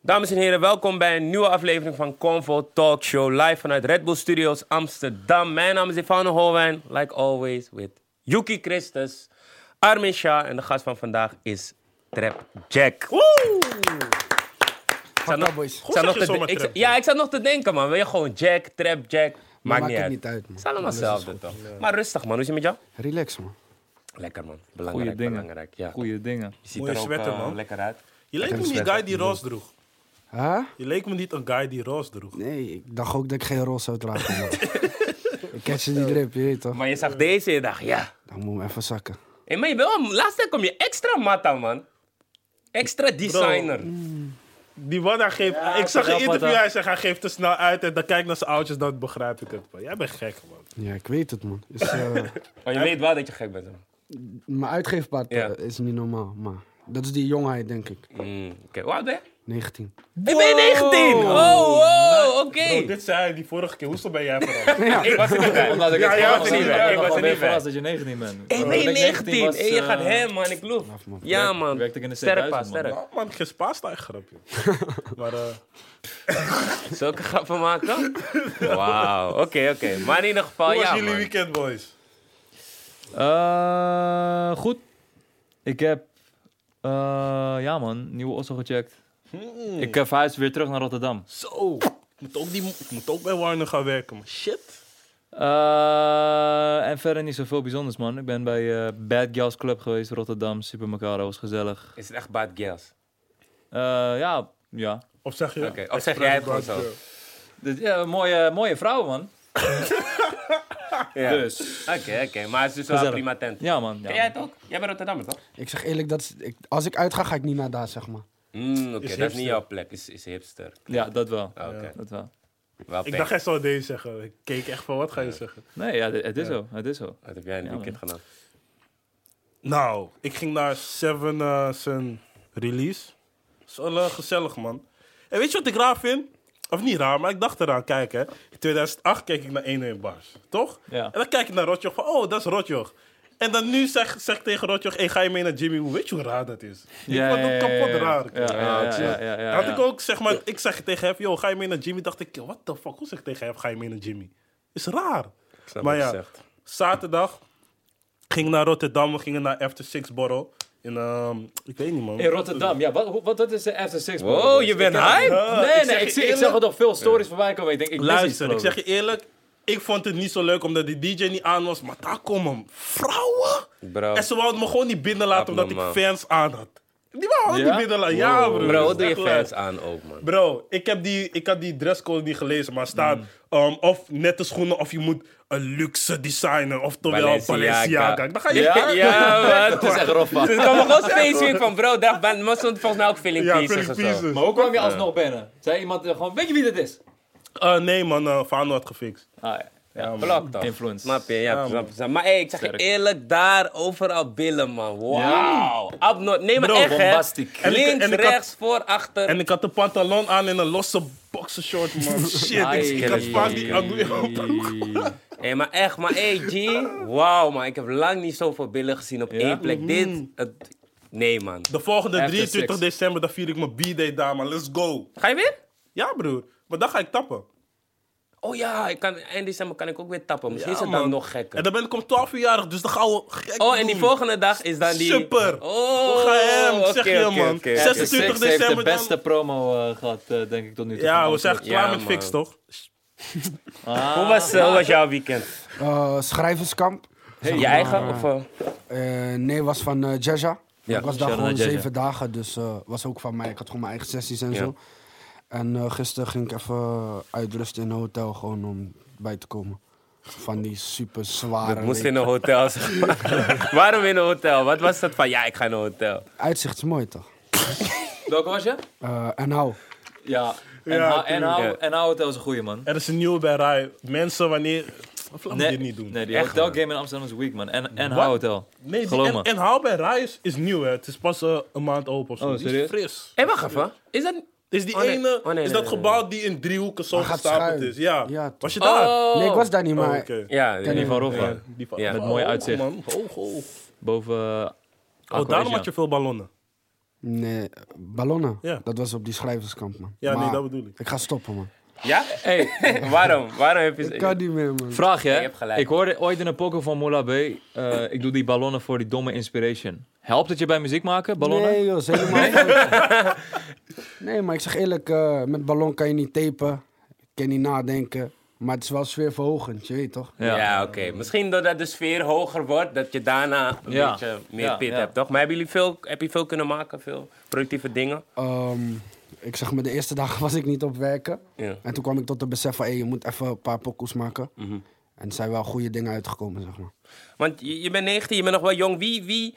Dames en heren, welkom bij een nieuwe aflevering van Convo Talk Show. Live vanuit Red Bull Studios Amsterdam. Mijn naam is Ivano Holwijn. Like always with Yuki Christus, Armin Shah. En de gast van vandaag is Trap Jack. Ik zat nog- boys. ik zat nog zeg je te- zomaar ik zat- Trap Ja, ik zat nog te denken, man. Wil je gewoon Jack, Trap Jack? Maakt maakt niet het uit. niet uit, man. Het is allemaal hetzelfde, toch? Maar rustig, man. Hoe is het met jou? Relax, man. Lekker, man. Belangrijk, Goeie dingen. belangrijk. Ja. Goeie dingen. Je ziet Mooie er ook sweater, eh, man. lekker uit. Je leek me niet een guy die roze droeg. Huh? Je leek me niet een guy die roze droeg. Nee, ik dacht ook dat ik geen rol zou dragen. man. ik catch die drip, je weet toch? Maar je zag deze en je dacht, ja. Dan moet ik even zakken. Hey, Eh, maar je bent wel, laatst tijd kom je extra matta, man. Extra designer. Die man, hij geeft... ik zag een vertel interview, wat, hij zegt hij geeft te snel uit en dan kijk naar zijn oudjes, dan begrijp ik het. man. Jij bent gek, man. Ja, ik weet het, man. Is, eh, Maar je weet wel dat je gek bent. hè? mijn uitgeefpaard eh, Ja. is niet normaal, maar dat is die jongheid, denk ik. Mm, Oké, hoe oud ben je? 19. Ik ben 19! Oh, wow, oké. Bro, dit zei hij die vorige keer. Hoezo ben jij veranderd? Ik was er niet bij. Omdat ik Ja, het jij gewoon was er al- niet bij. ik Ik was was er al ben niet bij. verrast dat je 19 bent. Ik Toen ben 19 was, en je eh, gaat hem, man. Ik loef. man. Ja, man. werkte ik in de Sterk, 2000, pa, man. sterk. Nou, man, geen spaarstuig grapje. Maar eh, Oh, Zulke grappen maken? Wauw, oké, oké. Maar in ieder geval, hoe was ja, jullie man. weekend, boys? Eh, goed. Ik heb, eh, ja man, nieuwe Osso gecheckt. Hmm. Ik heb verhuisd weer terug naar Rotterdam. Zo, ik moet ook, die, ik moet ook bij Warner gaan werken, man. Shit. Eh, en verder niet zoveel bijzonders man. Ik ben bij eh, Bad Girls Club geweest, Rotterdam. Super Macaro, was gezellig. Is het echt bad girls? Eh, ja, ja. Of zeg je... Oké, of zeg jij het gewoon zo? Dus, ja, mooie, mooie vrouw man. Ja. Dus. Oké, oké. Maar het is dus wel een Gezellig. prima tent. Ja man. Ja, Ben jij het ook? Jij bent Rotterdammer, toch? Ik zeg eerlijk, dat is- ik, als ik uitga, ga ik niet naar daar, zeg maar. Mm, oké, dat is hipster. niet jouw plek. Is, is hipster. ja dat wel. Ah, Oké, Dat wel. wel Ik pech. dacht, hij zou deze zeggen. Ik keek echt van, wat ga je zeggen? Nee, ja, het is zo. Het is zo. Wat heb jij in het Ja, weekend gedaan? Nou, ik ging naar Seven eh, zijn release. Is wel eh, gezellig, man. En weet je wat ik raar vind? Of niet raar, maar ik dacht eraan, kijk hè. In 2008 keek ik naar 1-1 Bars, toch? Ja. En dan kijk ik naar Rotjoch van, oh, dat is Rotjoch. En dan nu zeg, zeg ik tegen Rotjoch, hey, ga je mee naar Jimmy Woo? Weet je hoe raar dat is? ik vond het kapot raar. Ja, ja, ja, ja, ja, ja, Had ja. ik ook, zeg maar, ik zeg tegen hem, yo, ga je mee naar Jimmy? Dacht ik, what the fuck, hoe zeg ik tegen hem, ga je mee naar Jimmy? Is raar. snap maar wat je ja, zegt. zaterdag ging naar Rotterdam, we gingen naar After Six Borrel. In, ehm, ik weet niet man. In Rotterdam, ja. Wat, wat, wat is de After Six? Wow, Boys? je Ik bent ken het hype. niet. Ah, ik Nee, zeg nee, je ik, zie- ik eerlijk- zag er toch veel stories voorbij komen. Ik denk, ik mis iets, Luister, geloof ik zeg je eerlijk, ik vond het niet zo leuk omdat die DJ niet aan was, maar daar komen vrouwen. Bro. En ze wouden me gewoon niet binnenlaten omdat ik Abnormaal. fans aan had. Die wouden ook Ja? niet binnenlaten. Ja, bro. Bro, wat Dat doe is je echt lijp. fans aan ook, man? Bro, ik, heb die, ik had die dresscode niet gelezen, maar staat Mm. ehm, of nette schoenen of je moet een luxe designer, oftewel Balenciaga. Dan ga je Ja, ja man. Het is echt rof, man. Dus ik kan me gewoon specifiek van, bro, daar ben maar stond volgens mij ook Philip ja, Pieces of zo. Philippines. Maar hoe kwam je alsnog binnen? Zei iemand er gewoon, weet je wie dit is? Eh, nee man, eh Fano had gefixt. Ah, ja. ja. Blok toch? Influence. Snap je, ja, snap je. Maar hey, ik zeg je eerlijk, daar overal billen, man. Wauw. Abno- nee, maar Bro, echt, hè. bombastiek. En ik- Links, en ik had- rechts, voor, achter. En ik had een pantalon aan en een losse boxershort, man. Shit, ik, Ai, ik had vaak die ai. aan. Hé, maar echt, maar hey, G. Wauw, man. Ik heb lang niet zoveel billen gezien op één plek. Mm. Dit, het- nee, man. De volgende After 23 six. december, dan vier ik mijn B-day daar, man. Let's go. Ga je weer? Ja, broer. Maar dan ga ik tappen. Oh ja, ik kan, eind december kan ik ook weer tappen. Misschien is Ja, het dan man. nog gekker. En dan ben ik om 12 uur jarig, dus dan gaan we gek Oh, en die doen. volgende dag is dan die... Super. Oh, We gaan hem, oké, zeg je, oké, man. oké, oké. 26 Six heeft de december dan- beste promo eh, gehad, eh, denk ik, tot nu toe. Ja, van we zijn echt Amsterdam. klaar Ja, met man. fix, toch? Hoe was, eh, hoe was jouw weekend? Eh, schrijverskamp. Zeg je maar, eigen? eh, Of, eh, Eh, nee, was van eh Jaja. Ja, ik was daar shout-out gewoon naar Jaja. zeven dagen, dus eh, was ook van mij. Ik had gewoon mijn eigen sessies en Ja. zo. En eh, gisteren ging ik even uitrusten in een hotel, gewoon om bij te komen. Van die super zware. moest week. in een hotel, zeg maar. Waarom in een hotel? Wat was dat van, ja, ik ga in een hotel. Uitzicht is mooi toch? Welke was je? Eh, en nou, Ja. En Ja, hou- en hou- tuurlijk. en hou hotel is een goeie, man. Er is een nieuwe bij Rai. Mensen, wanneer... Of laat me dit niet doen. Nee, Nee, die Echt, hotel man. game in Amsterdam is weak, man. En, en Wat? hou hotel. die- Geloof en, me. en haal bij Rai is, is nieuw, hè. Het is pas eh, een maand open of zo. Oh, Die is serieus? fris. Hé, wacht even. Is dat... Is die Oh, nee. ene... Oh, nee, is nee, dat nee, gebouw die in driehoeken zo Hij gaat gestapeld schuin. is? Ja. Ja, Was je daar? Oh. nee, ik was daar niet, Oh, maar oké. Ja, En die ja. van Roffa. Ja, die van- Ja. Met mooi Oh, uitzicht. man. Hoog, hoog. Boven eh, Oh, Aquaregia. daarom had je veel ballonnen. Nee, ballonnen. Ja. Dat was op die schrijverskamp, man. Ja, nee, Maar dat bedoel ik. Ik ga stoppen, man. Ja? Hey, waarom? Waarom heb je... Ik kan niet meer, man. vraag je. Je hebt gelijk. Ik hoorde ooit in een poker van Moula B. eh, ik doe die ballonnen voor die domme inspiration. Helpt het je bij muziek maken, ballonnen? Nee, joh, is helemaal niet. Nee, maar ik zeg eerlijk, eh, met ballon kan je niet tapen. Kan je niet nadenken. Maar het is wel sfeerverhogend, je weet toch? Ja, oké. Misschien doordat de sfeer hoger wordt, dat je daarna een Ja. beetje meer Ja, pit ja. hebt, toch? Maar hebben jullie veel, heb je veel kunnen maken? Veel productieve dingen? Ehm, ik zeg maar, de eerste dagen was ik niet op werken. Ja. En toen kwam ik tot het besef van, hey, je moet even een paar pokoes maken. Mhm. En er zijn wel goede dingen uitgekomen, zeg maar. Want je, je bent 19, je bent nog wel jong. Wie, wie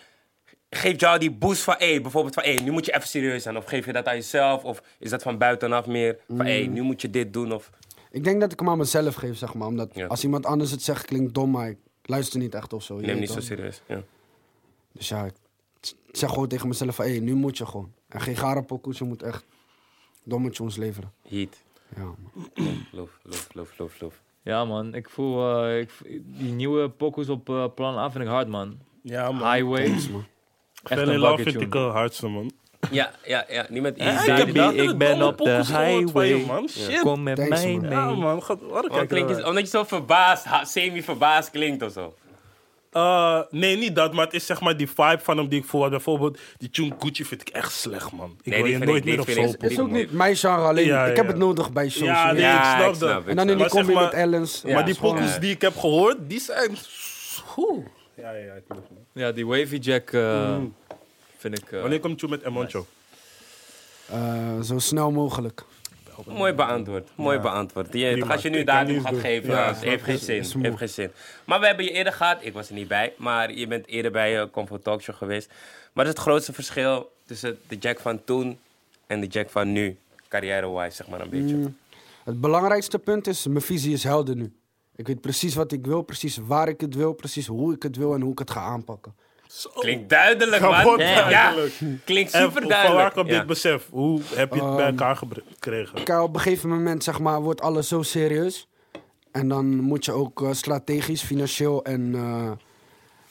geeft jou die boost van, hey, bijvoorbeeld van, hey, nu moet je even serieus zijn? Of geef je dat aan jezelf? Of is dat van buitenaf meer van, hey, nu moet je dit doen? Of... Ik denk dat ik hem aan mezelf geef, zeg maar. Omdat Ja. als iemand anders het zegt, klinkt dom, maar ik luister niet echt of zo. je Neem weet niet zo toch? serieus. Ja. Dus ja, ik zeg gewoon tegen mezelf van, hé, nu moet je gewoon. En geen gare pokoes, je moet echt domme tunes leveren. Heat. Ja, man. Loof, loof, loof, loof, loof. Ja, man. Ik voel eh, ik, voel- die nieuwe pokus op eh, plan A vind ik hard, man. Ja, man. Highway. man. Echt Fell in een Love bucket vind ik tune. het hardste, man. Ja, ja, ja. Niemand Ja, is Baby, ik heb latere ik ben domme op de pokkels gehoord van je, highway. man. Shit. Ja, Kom met Thanks, mij man. mee. man. Gaat, wat een Omdat, kijker Oh, klinkt- erbij. omdat je zo verbaasd, ha- semi-verbaasd klinkt of zo. Eh, nee, niet dat, maar het is zeg maar die vibe van hem die ik voel. had. Bijvoorbeeld, die tune Gucci vind ik echt slecht, man. Ik die wil je vind ik- nooit die meer op vind ik- zo'n die- pop. Is ook niet mijn genre alleen. Ja, ik ja, heb ja. het nodig bij shows. Ja, je nee, weet ik snap ik dat. snap het. En dan in die Maar zeg combi maar- met Ellens. Ja, maar die is gewoon- pokkels Ja. die ik heb gehoord, die zijn... Oeh. Ja, ja, ja. ik geloof me. Ja, die wavy jack eh, vind ik... eh, Mm. Wanneer komt tune met Emoncho? Eh, zo snel mogelijk. Mooi beantwoord, mooi beantwoord. Je- Prima, als je nu ik kan datum niets gaat doen. geven, Ja, eh, het heeft geen zin, is moe. heeft geen zin. Maar we hebben je eerder gehad, ik was er niet bij, maar je bent eerder bij eh Comfort Talkshow geweest. Maar dat is het grootste verschil tussen de Jack van toen en de Jack van nu, carrière-wise, zeg maar een beetje. Mm. Het belangrijkste punt is, mijn visie is helder nu. Ik weet precies wat ik wil, precies waar ik het wil, precies hoe ik het wil en hoe ik het ga aanpakken. Klinkt duidelijk, Gewoon man. duidelijk. Ja, klinkt Oh. En super van waar duidelijk. kwam dit besef? Hoe heb je het Ehm. bij elkaar gebre- gekregen? Kijk, op een gegeven moment zeg maar, wordt alles zo serieus. En dan moet je ook eh, strategisch, financieel en eh,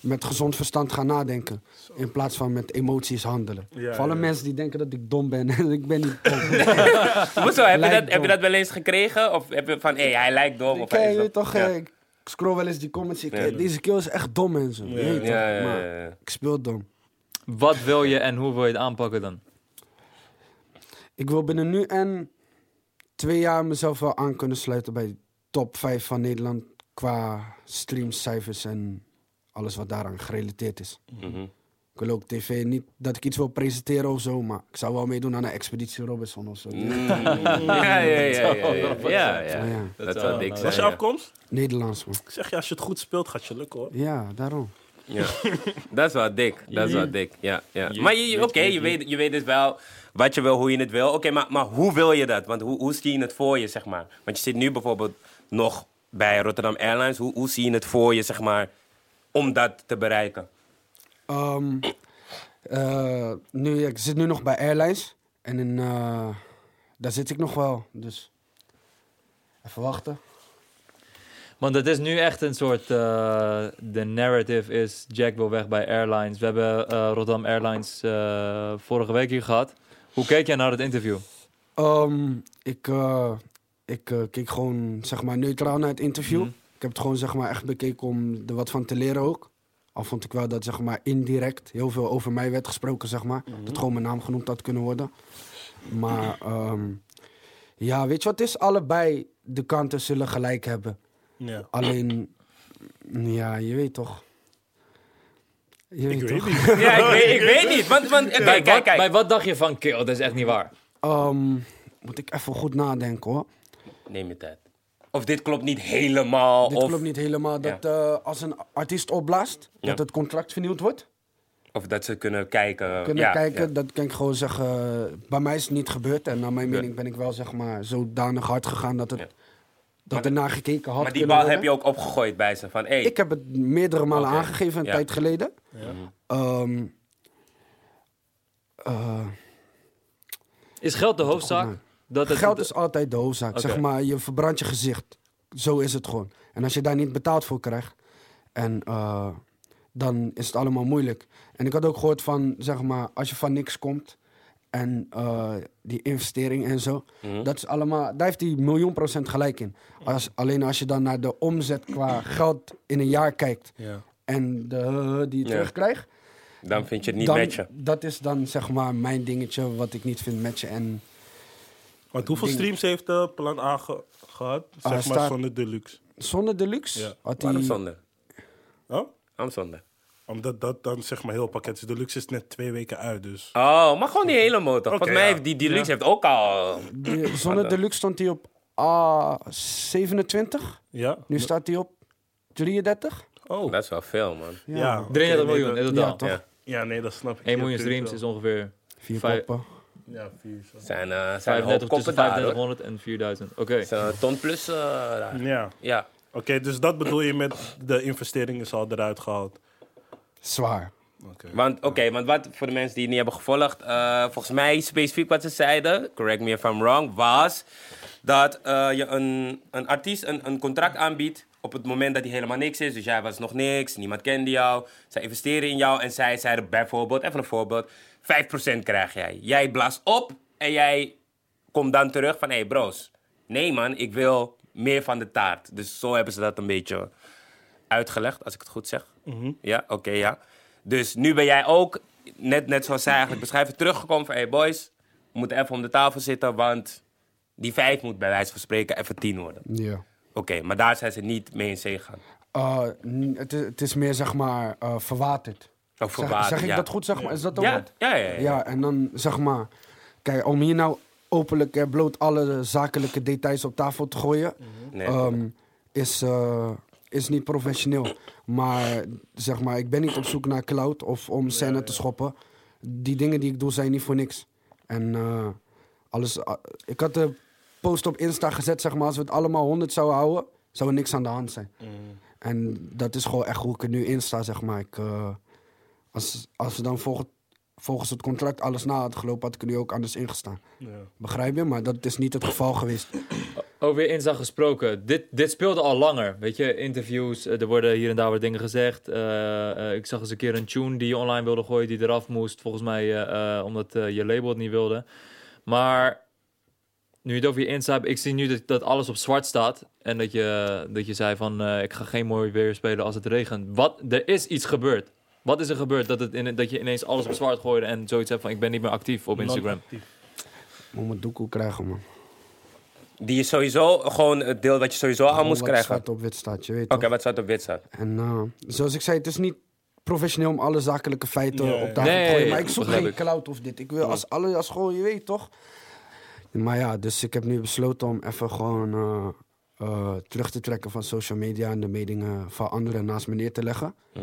met gezond verstand gaan nadenken. In plaats van met emoties handelen. Ja, Voor alle ja. mensen die denken dat ik dom ben. ik ben niet dom. Hoezo, heb, je Lijkt dat, heb je dom. dat wel eens gekregen? Of heb je van, hé, hey, hij lijkt dom? Of Kijk, hij is je weet dom? toch, Ja. eh, ik scroll wel eens die comments. Ik, Ja. eh, Deze kill is echt dom en zo. Je weet toch, Ja, ja, ja, maar ja, ja. Ik speel dom. Wat wil je en hoe wil je het aanpakken dan? Ik wil binnen nu en twee jaar mezelf wel aan kunnen sluiten bij top 5 van Nederland. Qua streamcijfers en alles wat daaraan gerelateerd is. Mhm. Ik wil ook tv niet dat ik iets wil presenteren of zo, maar ik zou wel meedoen aan een Expeditie Robinson of zo. Mm. Ja, ja, ja, ja, ja, ja. Ja, ja. Ja. Dat zou dik Wat zijn. is je ja. afkomst? Nederlands, man. Ik zeg je, als je het goed speelt, gaat je lukken, hoor. Ja, daarom. Ja. dat is wel dik. Dat is wel dik. Ja, ja. Maar je- je- oké, je, weet, je weet dus wel wat je wil, hoe je het wil. Oké, maar, maar hoe wil je dat? Want hoe, hoe zie je het voor je, zeg maar? Want je zit nu bijvoorbeeld nog bij Rotterdam Airlines. Hoe, hoe zie je het voor je, zeg maar, om dat te bereiken? Ehm, eh, nu, ik zit nu nog bij Airlines en in, eh, daar zit ik nog wel, dus even wachten. Want het is nu echt een soort. eh, De narrative is: Jack wil weg bij Airlines. We hebben eh, Rotterdam Airlines eh, vorige week hier gehad. Hoe keek jij naar het interview? Ehm, ik eh, ik eh, keek gewoon zeg maar, neutraal naar het interview. Mhm. Ik heb het gewoon zeg maar, echt bekeken om er wat van te leren ook. Al vond ik wel dat zeg maar, indirect heel veel over mij werd gesproken, zeg maar. Dat gewoon mijn naam genoemd had kunnen worden. Maar ehm, ja, weet je wat het is? Allebei de kanten zullen gelijk hebben. Ja. Alleen, ja, je weet toch. Je weet Ik weet toch? niet. Ja, ik weet, ik weet niet. Want, want kijk, Bij, kijk, wat, bij kijk. wat dacht je van: Kill, dat is echt niet waar? Ehm, moet ik even goed nadenken hoor. Neem je tijd. Of dit klopt niet helemaal. Dit of, klopt niet helemaal dat eh, als een artiest opblaast, Ja. dat het contract vernieuwd wordt. of dat ze kunnen kijken. Kunnen ja, kijken, ja. dat kan ik gewoon zeggen. Bij mij is het niet gebeurd en naar mijn mening ben ik wel zeg maar zodanig hard gegaan dat, het, Ja. dat er naar gekeken had Maar die kunnen bal heb worden. je ook opgegooid bij ze. Van, hey, Ik heb het meerdere malen Oké, aangegeven een ja. tijd geleden. Ehm, eh, Is geld de hoofdzaak? goed, Dat het, Geld is altijd de hoofdzaak. Oké. Zeg maar, je verbrandt je gezicht. Zo is het gewoon. En als je daar niet betaald voor krijgt, en, eh, dan is het allemaal moeilijk. En ik had ook gehoord van, zeg maar, als je van niks komt, en eh, die investering en zo. Mhm. Dat is allemaal, daar heeft hij miljoen procent gelijk in. Als, alleen als je dan naar de omzet qua geld in een jaar kijkt Ja. en de eh, die je Ja. terugkrijgt, Dan vind je het niet dan, matchen. dat is dan zeg maar mijn dingetje wat ik niet vind matchen. En Want hoeveel Ding. Ah, streams heeft eh, Plan A ge- gehad? Zeg maar staat- zonder deluxe. zonder deluxe Ja. had Waarom hij. zonder? Oh? Waarom zonder? Omdat dat dan zeg maar heel pakket is. Deluxe is net twee weken uit, dus... Oh, maar gewoon die hele motor. Volgens mij ja. heeft die deluxe heeft ook al... de- zonder deluxe stond hij op ah, 27. Ja? Nu staat hij op 33. Oh. Dat is wel veel, man. Ja. oké, 33 nee, miljoen dat- in Ja, totaal. toch? Ja. Ja, nee, dat snap ik. 1 Ja, miljoen streams is tuurlijk ongeveer Vier Vijf- koppen. wel. Ja, vier is wel. Zijn, eh zijn een 35 hoop tussen koppen daar, hoor. 3500 en 4000. Oké. Zijn een ton plus eh, daar. Ja, oké, Ja. dus dat bedoel je met de investering is al eruit gehaald. Zwaar. Oké. Want oké, want wat voor de mensen die het niet hebben gevolgd, eh, volgens mij specifiek wat ze zeiden, correct me if I'm wrong, was dat eh, je een, een artiest een, een contract aanbiedt op het moment dat hij helemaal niks is. Dus jij was nog niks, niemand kende jou, zij investeren in jou en zij zeiden bijvoorbeeld, even een voorbeeld, 5% krijg jij. Jij blaast op en jij komt dan terug van hé hey, bros, nee man, ik wil meer van de taart. Dus zo hebben ze dat een beetje uitgelegd, als ik het goed zeg. Mhm. Ja, oké, ja. Dus nu ben jij ook, net, net zoals zij eigenlijk beschrijven, teruggekomen van... hey boys, we moeten even om de tafel zitten, want die vijf moet bij wijze van spreken even tien worden. Ja. Oké, maar daar zijn ze niet mee in zee gegaan. Eh, n- het, is, het is meer zeg maar eh, verwaterd. Ook Zeg- verbaasd, zeg, ik ja. dat goed? Zeg maar? Is dat ook Ja, wat? ja, ja. ja. Ja, en dan zeg maar, kijk, om hier nou openlijk en bloot alle zakelijke details op tafel te gooien, Nee, ehm, is, eh, is niet professioneel. Maar zeg maar, ik ben niet op zoek naar cloud of om scène te schoppen. Die dingen die ik doe zijn niet voor niks. En eh, alles, a- ik had de post op Insta gezet, zeg maar, als we het allemaal 100 zouden houden, zou er niks aan de hand zijn. Mm, En dat is gewoon echt hoe ik er nu in sta, zeg maar. Ik, eh, als, als we dan volg- volgens het contract alles na had gelopen, had ik er nu ook anders ingestaan. Ja. Begrijp je? Maar dat is niet het geval geweest. Over Insta gesproken. Dit, dit speelde al langer. Weet je, interviews. eh, Er worden hier en daar wat dingen gezegd. Eh, eh, ik zag eens een keer een tune die je online wilde gooien, die eraf moest. Volgens mij eh, eh, omdat eh, je label het niet wilde. Maar nu je het over je Insta hebt, ik zie nu dat, dat alles op zwart staat. En dat je, dat je zei van, eh, ik ga geen mooi weer spelen als het regent. Wat, er is iets gebeurd. Wat is er gebeurd dat, het in, dat je ineens alles op zwart gooide en zoiets hebt van, Dus ik ben niet meer actief op Instagram? Moet mijn doekoe krijgen, man. Die is sowieso gewoon het deel dat je sowieso aan moest Wat krijgen. zwart Oké, op wit staat, je weet toch? wat staat op wit staat. En eh, zoals ik zei, het is niet professioneel om alle zakelijke feiten Nee. op tafel te gooien. Nee, Maar ik zoek begrijp geen ik. cloud of dit. Ik wil als, alle, als gewoon, je weet toch? Maar ja, dus ik heb nu besloten om even gewoon eh, eh, terug te trekken van social media... en de meningen van anderen naast me neer te leggen. Mhm.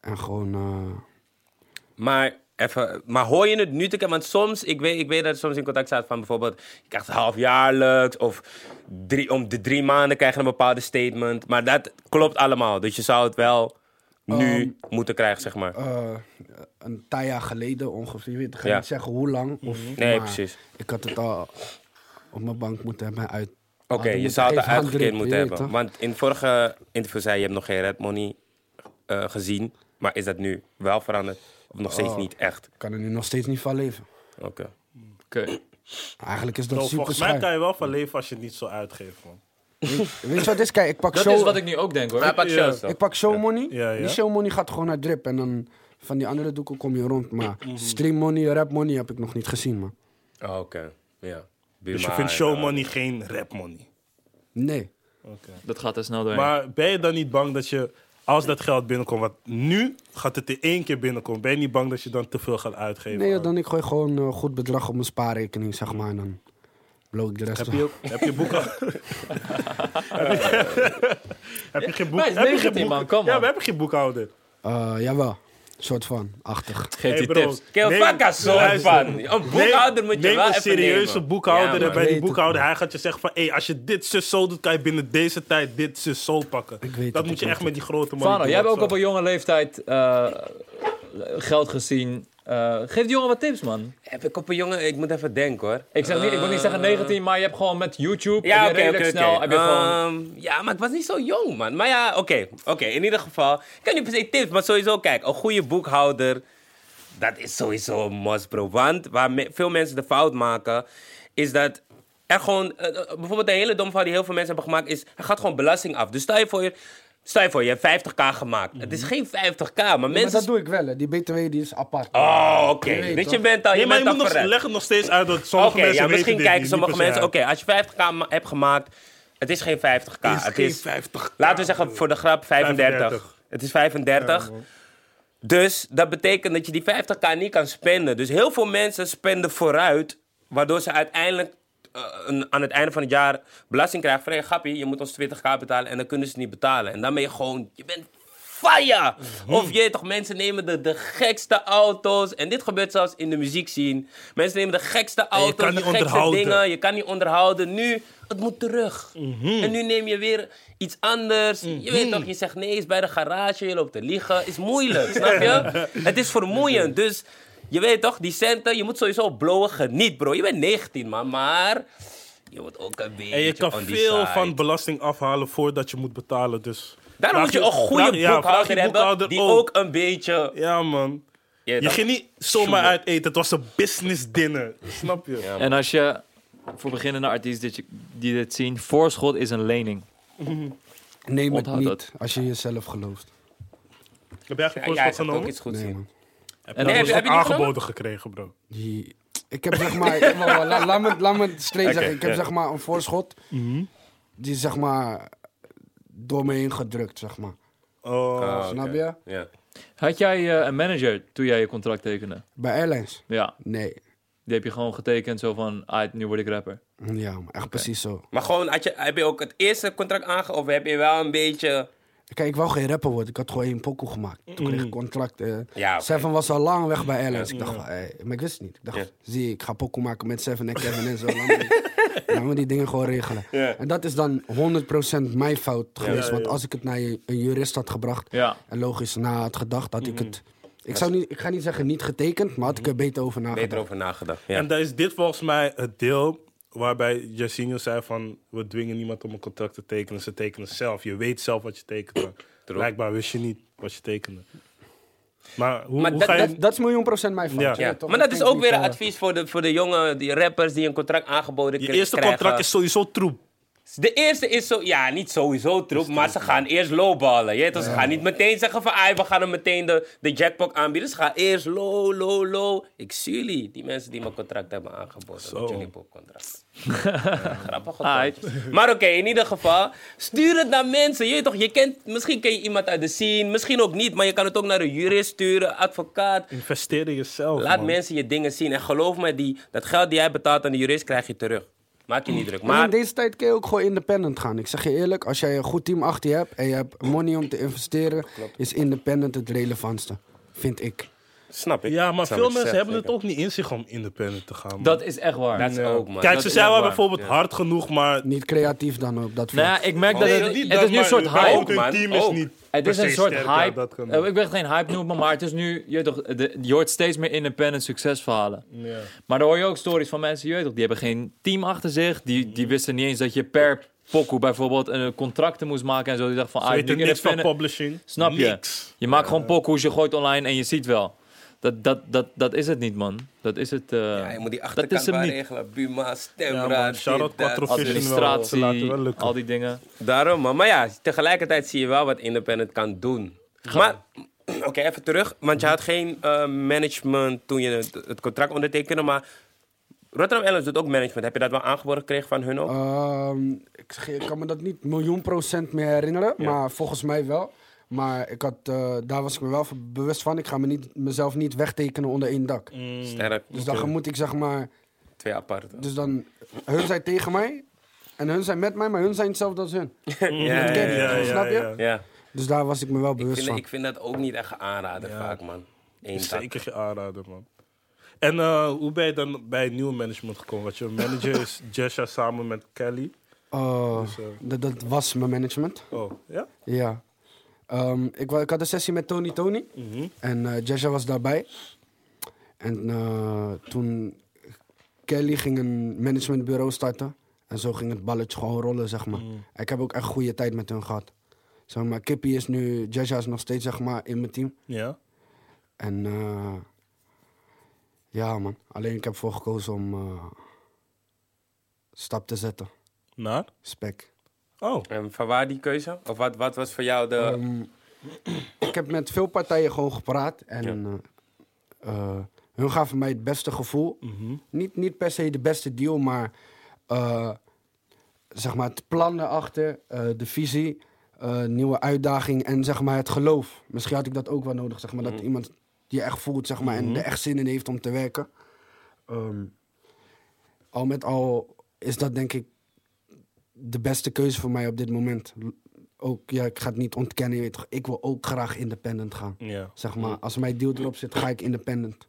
En gewoon... eh, Maar, even, maar hoor je het nu te Want soms, ik weet, ik weet dat het soms in contact staat van bijvoorbeeld... je krijgt het halfjaarlijks of drie, om de drie maanden krijg je een bepaalde statement. Maar dat klopt allemaal. Dus je zou het wel nu moeten krijgen, zeg maar. eh, een paar jaar geleden ongeveer. Je weet, ik ga Ja. Mhm. niet zeggen hoe lang. Of, Nee, maar precies. Ik had het al op mijn bank moeten hebben uit. Oké, hadden je moeten zou het geven aan uitgekeerd Drip, moeten je weet hebben. toch? Want in vorige interview zei je, je hebt nog geen Red Money eh, gezien. Maar is dat nu wel veranderd? Of nog steeds Oh. niet echt? Ik kan er nu nog steeds niet van leven. Oké. Oké. Eigenlijk is dat Bro, super volgens mij kan schuin. je wel van leven als je het niet zo uitgeeft, man. Weet je wat het is? Kijk, ik pak Dat show, is wat ik nu ook denk hoor. Maar pak Ja. shows dan. ik pak show money. Ja, ja. Die show money gaat gewoon naar drip. En dan van die andere doeken kom je rond. Maar Mhm. stream money, rap money heb ik nog niet gezien, man. Oh, Oké, ja. Dus je Buma vindt en, show eh, money geen rap money. Nee. Dat gaat er snel doorheen. Maar ben je dan niet bang dat je, als dat geld binnenkomt, want nu gaat het in één keer binnenkomen, ben je niet bang dat je dan te veel gaat uitgeven? Nee, aan- dan ik gooi gewoon een goed bedrag op mijn spaarrekening, zeg maar. En dan blow ik de rest Heb wel. je, ook, heb je boeken? heb je geen boek? Wij is heb je geen 19, boek- man, kom, Ja, man. we hebben geen boekhouder. Eh, jawel. Soort van, achtig. Geef die Hey, bro. tips. Keel Neem- vakka soort luister. van. Een boekhouder Neem- moet je neem wel een even serieuze nemen. boekhouder Ja, en bij man. die Weet het, boekhouder, hij gaat je zeggen van... Hey, als je dit zus zo doet, kan je binnen deze tijd dit zus zo pakken. weet dat het, moet je ik echt weet met die grote man. Fano, jij hebt ook op een jonge leeftijd eh, geld gezien. Eh, geef die jongen wat tips, man. Heb ik op een jongen... Ik moet even denken, hoor. Ik, zeg niet, ik wil niet zeggen 19, maar je hebt gewoon met YouTube Ja, heb je oké, redelijk oké, snel. oké. Heb je gewoon, Ehm, Ja, maar ik was niet zo jong, man. Maar ja, oké. oké, in ieder geval. Ik kan niet per se tips, maar sowieso, kijk. Een goede boekhouder Dat is sowieso een must, bro. Want waar me- veel mensen de fout maken, is dat er gewoon... eh, eh, bijvoorbeeld de hele dom fout die heel veel mensen hebben gemaakt, is... Er gaat gewoon belasting af. Dus stel je voor, je, stel je, voor, je hebt 50k gemaakt. Het is geen 50k, maar Maar mensen... dat doe ik wel, hè. Die BTW die is apart. Ah. Oh, oké. Je weet Dus je toch? bent al, je Nee, maar je bent moet al nog, verrekt. leg het nog steeds uit dat sommige Oké, mensen ja, weten misschien dit kijken niet sommige per se mensen... uit. Oké, als je 50k ma- hebt gemaakt, het is geen 50k. Het is het geen is, 50k, Laten we zeggen, voor de grap 35. 35. Het is 35. dus dat betekent dat je die 50k niet kan spenden. Dus heel veel mensen spenden vooruit, waardoor ze uiteindelijk... eh, een- aan het einde van het jaar belasting krijgen van hey, grappie, je moet ons 20k betalen en dan kunnen ze het niet betalen. En dan ben je gewoon, je bent fire! Of je toch, mensen nemen de, de gekste auto's. En dit gebeurt zelfs in de muziek zien. Mensen nemen de gekste je auto's, kan de niet gekste onderhouden. dingen. Nou, Je kan niet onderhouden. Nu, het moet terug. Mhm. En nu neem je weer iets anders. Je weet toch, je zegt nee, is bij de garage, je loopt te liegen. Is moeilijk, snap je? Het is vermoeiend. Dus je weet toch, die centen, je moet sowieso blowen. Geniet, bro. Je bent 19, man, maar je oh, wordt ook een beetje En je kan on the veel side. van belasting afhalen voordat je moet betalen, dus... Daarom vraag moet je een goede vraag- ja, vraag boekhouder je hebben boekhouder die ook een beetje... Ja, man. Ja, Je dat- ging niet zomaar uit eten. Het was een business dinner. Snap je? En als je voor beginnende artiesten dit- die dit zien, voorschot is een lening. Neem het Onthoud niet dat. als je jezelf gelooft. Heb jij Ja, geen jij voorschot gaat ook genomen? iets goeds Nee, zien. man. Heb En je dan- dat Heb je- heb je niet aangeboden gekregen, bro? Die, ik heb zeg maar, Wacht, wacht, laat, laat me, laat me het straight Oké, zeggen. Ik heb ja. zeg maar een voorschot die is, zeg maar door me heen gedrukt, zeg maar. Oh, Ah, Snap oké. je? Ja. Had jij eh, een manager toen jij je contract tekende? Bij Airlines? Ja, Nee. die heb je gewoon getekend zo van, ah, nu word ik rapper. Ja, man, echt precies zo. Maar gewoon, had je, heb je ook het eerste contract aangehouden? Of heb je wel een beetje... Kijk, ik wou geen rapper worden. Ik had gewoon één pokoe gemaakt. Toen kreeg ik contract. eh. Mm. Ja, oké. Seven was al lang weg bij Airlines. Ik dacht van, hey, maar ik wist het niet. Ik dacht, zie, ik ga pokoe maken met Seven en Kevin en zo. Laat me, die- laat me die dingen gewoon regelen. En dat is dan 100% mijn fout geweest. Want als ik het naar je- een jurist had gebracht... Ja. en logisch na had gedacht, had Mm-hmm. ik het... Ik, zou niet, ik ga niet zeggen niet getekend, maar had ik er beter over nagedacht. Beter over nagedacht. Ja. En dan is dit volgens mij het deel waarbij Jacinho zei van... we dwingen niemand om een contract te tekenen. Ze tekenen zelf. Je weet zelf wat je tekende. Blijkbaar wist je niet wat je tekende. Maar hoe, Maar hoe dat- ga je... Dat, dat is miljoen procent mijn fout. Ja. je weet ja. toch? Maar dat Ik is denk ook weer niet, een eh, advies voor de, voor de jonge die rappers die een contract aangeboden je kri- eerste krijgen. contract is sowieso troep. De eerste is zo... Ja, niet sowieso troep, maar ze gaan eerst lowballen. Je weet toch, Ze gaan niet meteen zeggen van... "Ai, we gaan hem meteen de, de jackpot aanbieden. Ze gaan eerst low, low, low. Ik zie jullie, die mensen die mijn contract hebben aangeboden. Met jullie boekcontract. Ja, grappig. hoor. Aight. Maar oké, in ieder geval, stuur het naar mensen. Je, weet toch, je kent, misschien ken je iemand uit de scene, misschien ook niet, maar je kan het ook naar een jurist sturen, advocaat. Investeer in jezelf, Laat man. mensen je dingen zien. En geloof me, die, dat geld die jij betaalt aan de jurist krijg je terug. Maak je niet druk. Maar Maar in deze tijd kun je ook gewoon independent gaan. Ik zeg je eerlijk, als jij een goed team achter je hebt en je hebt money om te investeren, is independent het relevantste. Vind ik. snap ik. Ja, maar Snap veel ik, mensen zeg, hebben het zeker. ook niet in zich om independent te gaan. man. Dat is echt waar. Dat is ook, man. Kijk, Dat ze is zijn echt wel waar. bijvoorbeeld Ja. hard genoeg, maar... Niet creatief dan op dat vlak. Nou ja, ik merk dat Nee, het, niet het dat, is nu een maar soort überhaupt hype. Oh, ook, man. Hun team is Ook. niet Het per is se een soort sterk, ja, hype. dat kan Eh, ik ben geen hype noemen, maar het is nu, je, weet toch, de, je hoort steeds meer independent succesverhalen. Ja. Maar dan hoor je ook stories van mensen, je weet toch, die hebben geen team achter zich. Die, Mm. die wisten niet eens dat je per pokoe bijvoorbeeld een contracten moest maken en zo. Die dachten van, Ze ah, ik weten ben niks van independent. publishing. Snap je? Niks. Je maakt gewoon pokoes, je gooit online en je ziet wel. Dat, dat, dat, dat is het niet, man. Dat is het. eh, Ja, je moet die dat is achterkant hem wel niet. regelen. Buma, Ja, stemraad, man. dit, Shout-out dat. Quattro Vision wel. Ze laten Administratie, wel lukken. al die dingen. Daarom, man. Maar ja, tegelijkertijd zie je wel wat Independent kan doen. Maar, oké, even terug. Want je had geen eh, management toen je het, het contract ondertekende. Maar Rotterdam Airlines doet ook management. Heb je dat wel aangeboden gekregen van hun ook? Ehm, ik, zeg je, ik kan me dat niet miljoen procent meer herinneren, maar volgens mij wel. Maar ik had, eh, daar was ik me wel van bewust van. Ik ga me niet, mezelf niet wegtekenen onder één dak. Mm, Sterk. Dus dan moet ik zeg maar. Twee aparte. Dus dan. Hun zijn tegen mij. En hun zijn met mij, maar hun zijn hetzelfde als hun. ja, ja, Ken ja. je? ja, Snap je? ja. ja. Dus daar was ik me wel Ik bewust vind, van. ik vind dat ook niet echt een aanrader vaak, man. Eén Dus tak. Zeker je aanrader, man. En eh, hoe ben je dan bij het nieuwe management gekomen? Want je manager is Jesha samen met Kelly. Oh, eh, dat, dat was mijn management. Oh, ja? Ja. Ehm, ik, wa- ik had een sessie met Tony Tony. Mhm. En eh Jaja was daarbij. En eh, toen... Kelly ging een managementbureau starten. En zo ging het balletje gewoon rollen, zeg maar. Ik heb ook echt goede tijd met hun gehad. Zeg maar, Kippy is nu... Jaja is nog steeds, zeg maar, in mijn team. Ja. En eh, Ja, man. Alleen ik heb voor gekozen om eh, stap te zetten. Naar? Spek. Oh, En Ehm, van waar die keuze? Of wat, wat was voor jou de... Ehm, ik heb met veel partijen gewoon gepraat. En eh, eh, hun gaven mij het beste gevoel. Mhm. niet, niet per se de beste deal, maar, eh, zeg maar het plan erachter, eh, de visie, eh, nieuwe uitdaging en zeg maar het geloof. Misschien had ik dat ook wel nodig, zeg maar, dat iemand die echt voelt zeg maar, en er echt zin in heeft om te werken. Ehm, al met al is dat denk ik de beste keuze voor mij op dit moment. L- Ook, ja, ik ga het niet ontkennen, je weet toch, ik wil ook graag independent gaan. ja. Zeg maar, als mijn deal erop zit, ga ik independent.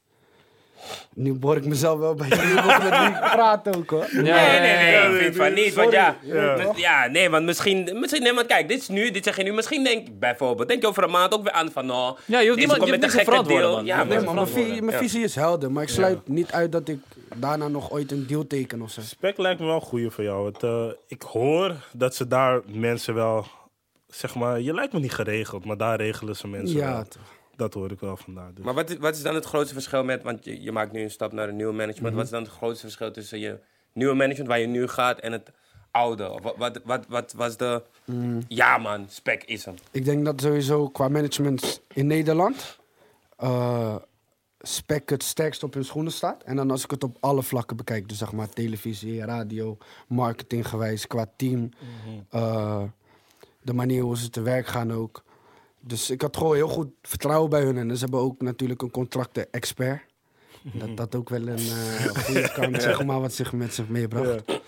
Nu boor ik mezelf wel bij jullie op met wie ik praat ook hoor. Ja, nee, nee, nee, ja, ik ja, vind ja, van niet. Want ja, Dus, Ja. ja. nee, want misschien, misschien, nee, want kijk, dit is nu, dit zeg je nu. Misschien denk ik bijvoorbeeld, denk je over een maand ook weer aan van, oh, Ja, je hoeft deze niemand- komt je hoeft met een niks te gekke verantwoorden, deal. man. Ja, Je man. hoeft Nee, maar niks te mijn, vi- mijn Ja. visie is helder, maar ik sluit niet uit dat ik daarna nog ooit een deal teken of zo. Spek lijkt me wel een goeie voor jou. Want, eh, ik hoor dat ze daar mensen wel, zeg maar, je lijkt me niet geregeld, maar daar regelen ze mensen Ja, wel. toch. Dat hoor ik wel vandaar. Dus. Maar wat, is- wat is dan het grootste verschil met, want je, je maakt nu een stap naar een nieuw management. Mhm. Wat is dan het grootste verschil tussen je nieuwe management waar je nu gaat en het oude? Of Wat, wat, wat, wat was de, Mhm. ja man, spec is hem. Ik denk dat sowieso qua management in Nederland eh, spec het sterkst op hun schoenen staat. En dan als ik het op alle vlakken bekijk, dus zeg maar televisie, radio, marketinggewijs, qua team, eh, de manier hoe ze te werk gaan ook. Dus ik had gewoon heel goed vertrouwen bij hun. En dus ze hebben ook natuurlijk een contracten-expert. Dat dat ook wel een eh, goede kant, zeg maar, wat zich met zich meebracht.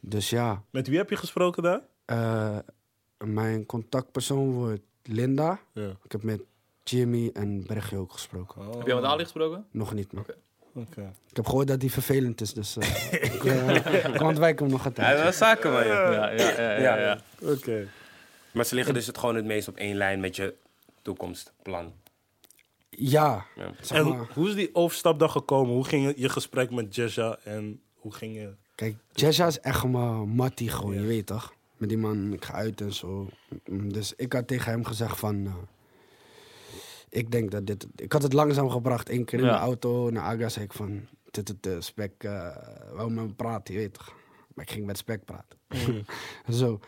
Dus ja, Met wie heb je gesproken daar? eh, mijn contactpersoon wordt Linda. Ja. Ik heb met Jimmy en Brechtje ook gesproken. Oh, Heb je al met Ali gesproken? Nog niet, man. oké. Ik heb gehoord dat die vervelend is, dus eh, ik eh, ik ontwijk hem nog een Hij tijdje. was wel zaken man, ja. Ja, ja, ja. ja, Ja. ja. Oké. Maar ze liggen dus het gewoon het meest op één lijn met je toekomstplan. Ja, Ja. zeg En hoe, maar. hoe is die overstap dan gekomen? Hoe ging je gesprek met Jesja en hoe ging je... Kijk, Jaja is echt mijn mattie gewoon, je weet toch? Met die man, ik ga uit en zo. Mm, Dus ik had tegen hem gezegd van... eh, ik denk dat dit... Ik had het langzaam gebracht, één keer in Ja. de auto. Naar Aga zei ik van... Dit, dit, eh, Spek eh wou met me praten, je weet toch? Maar ik ging met Spek praten. zo.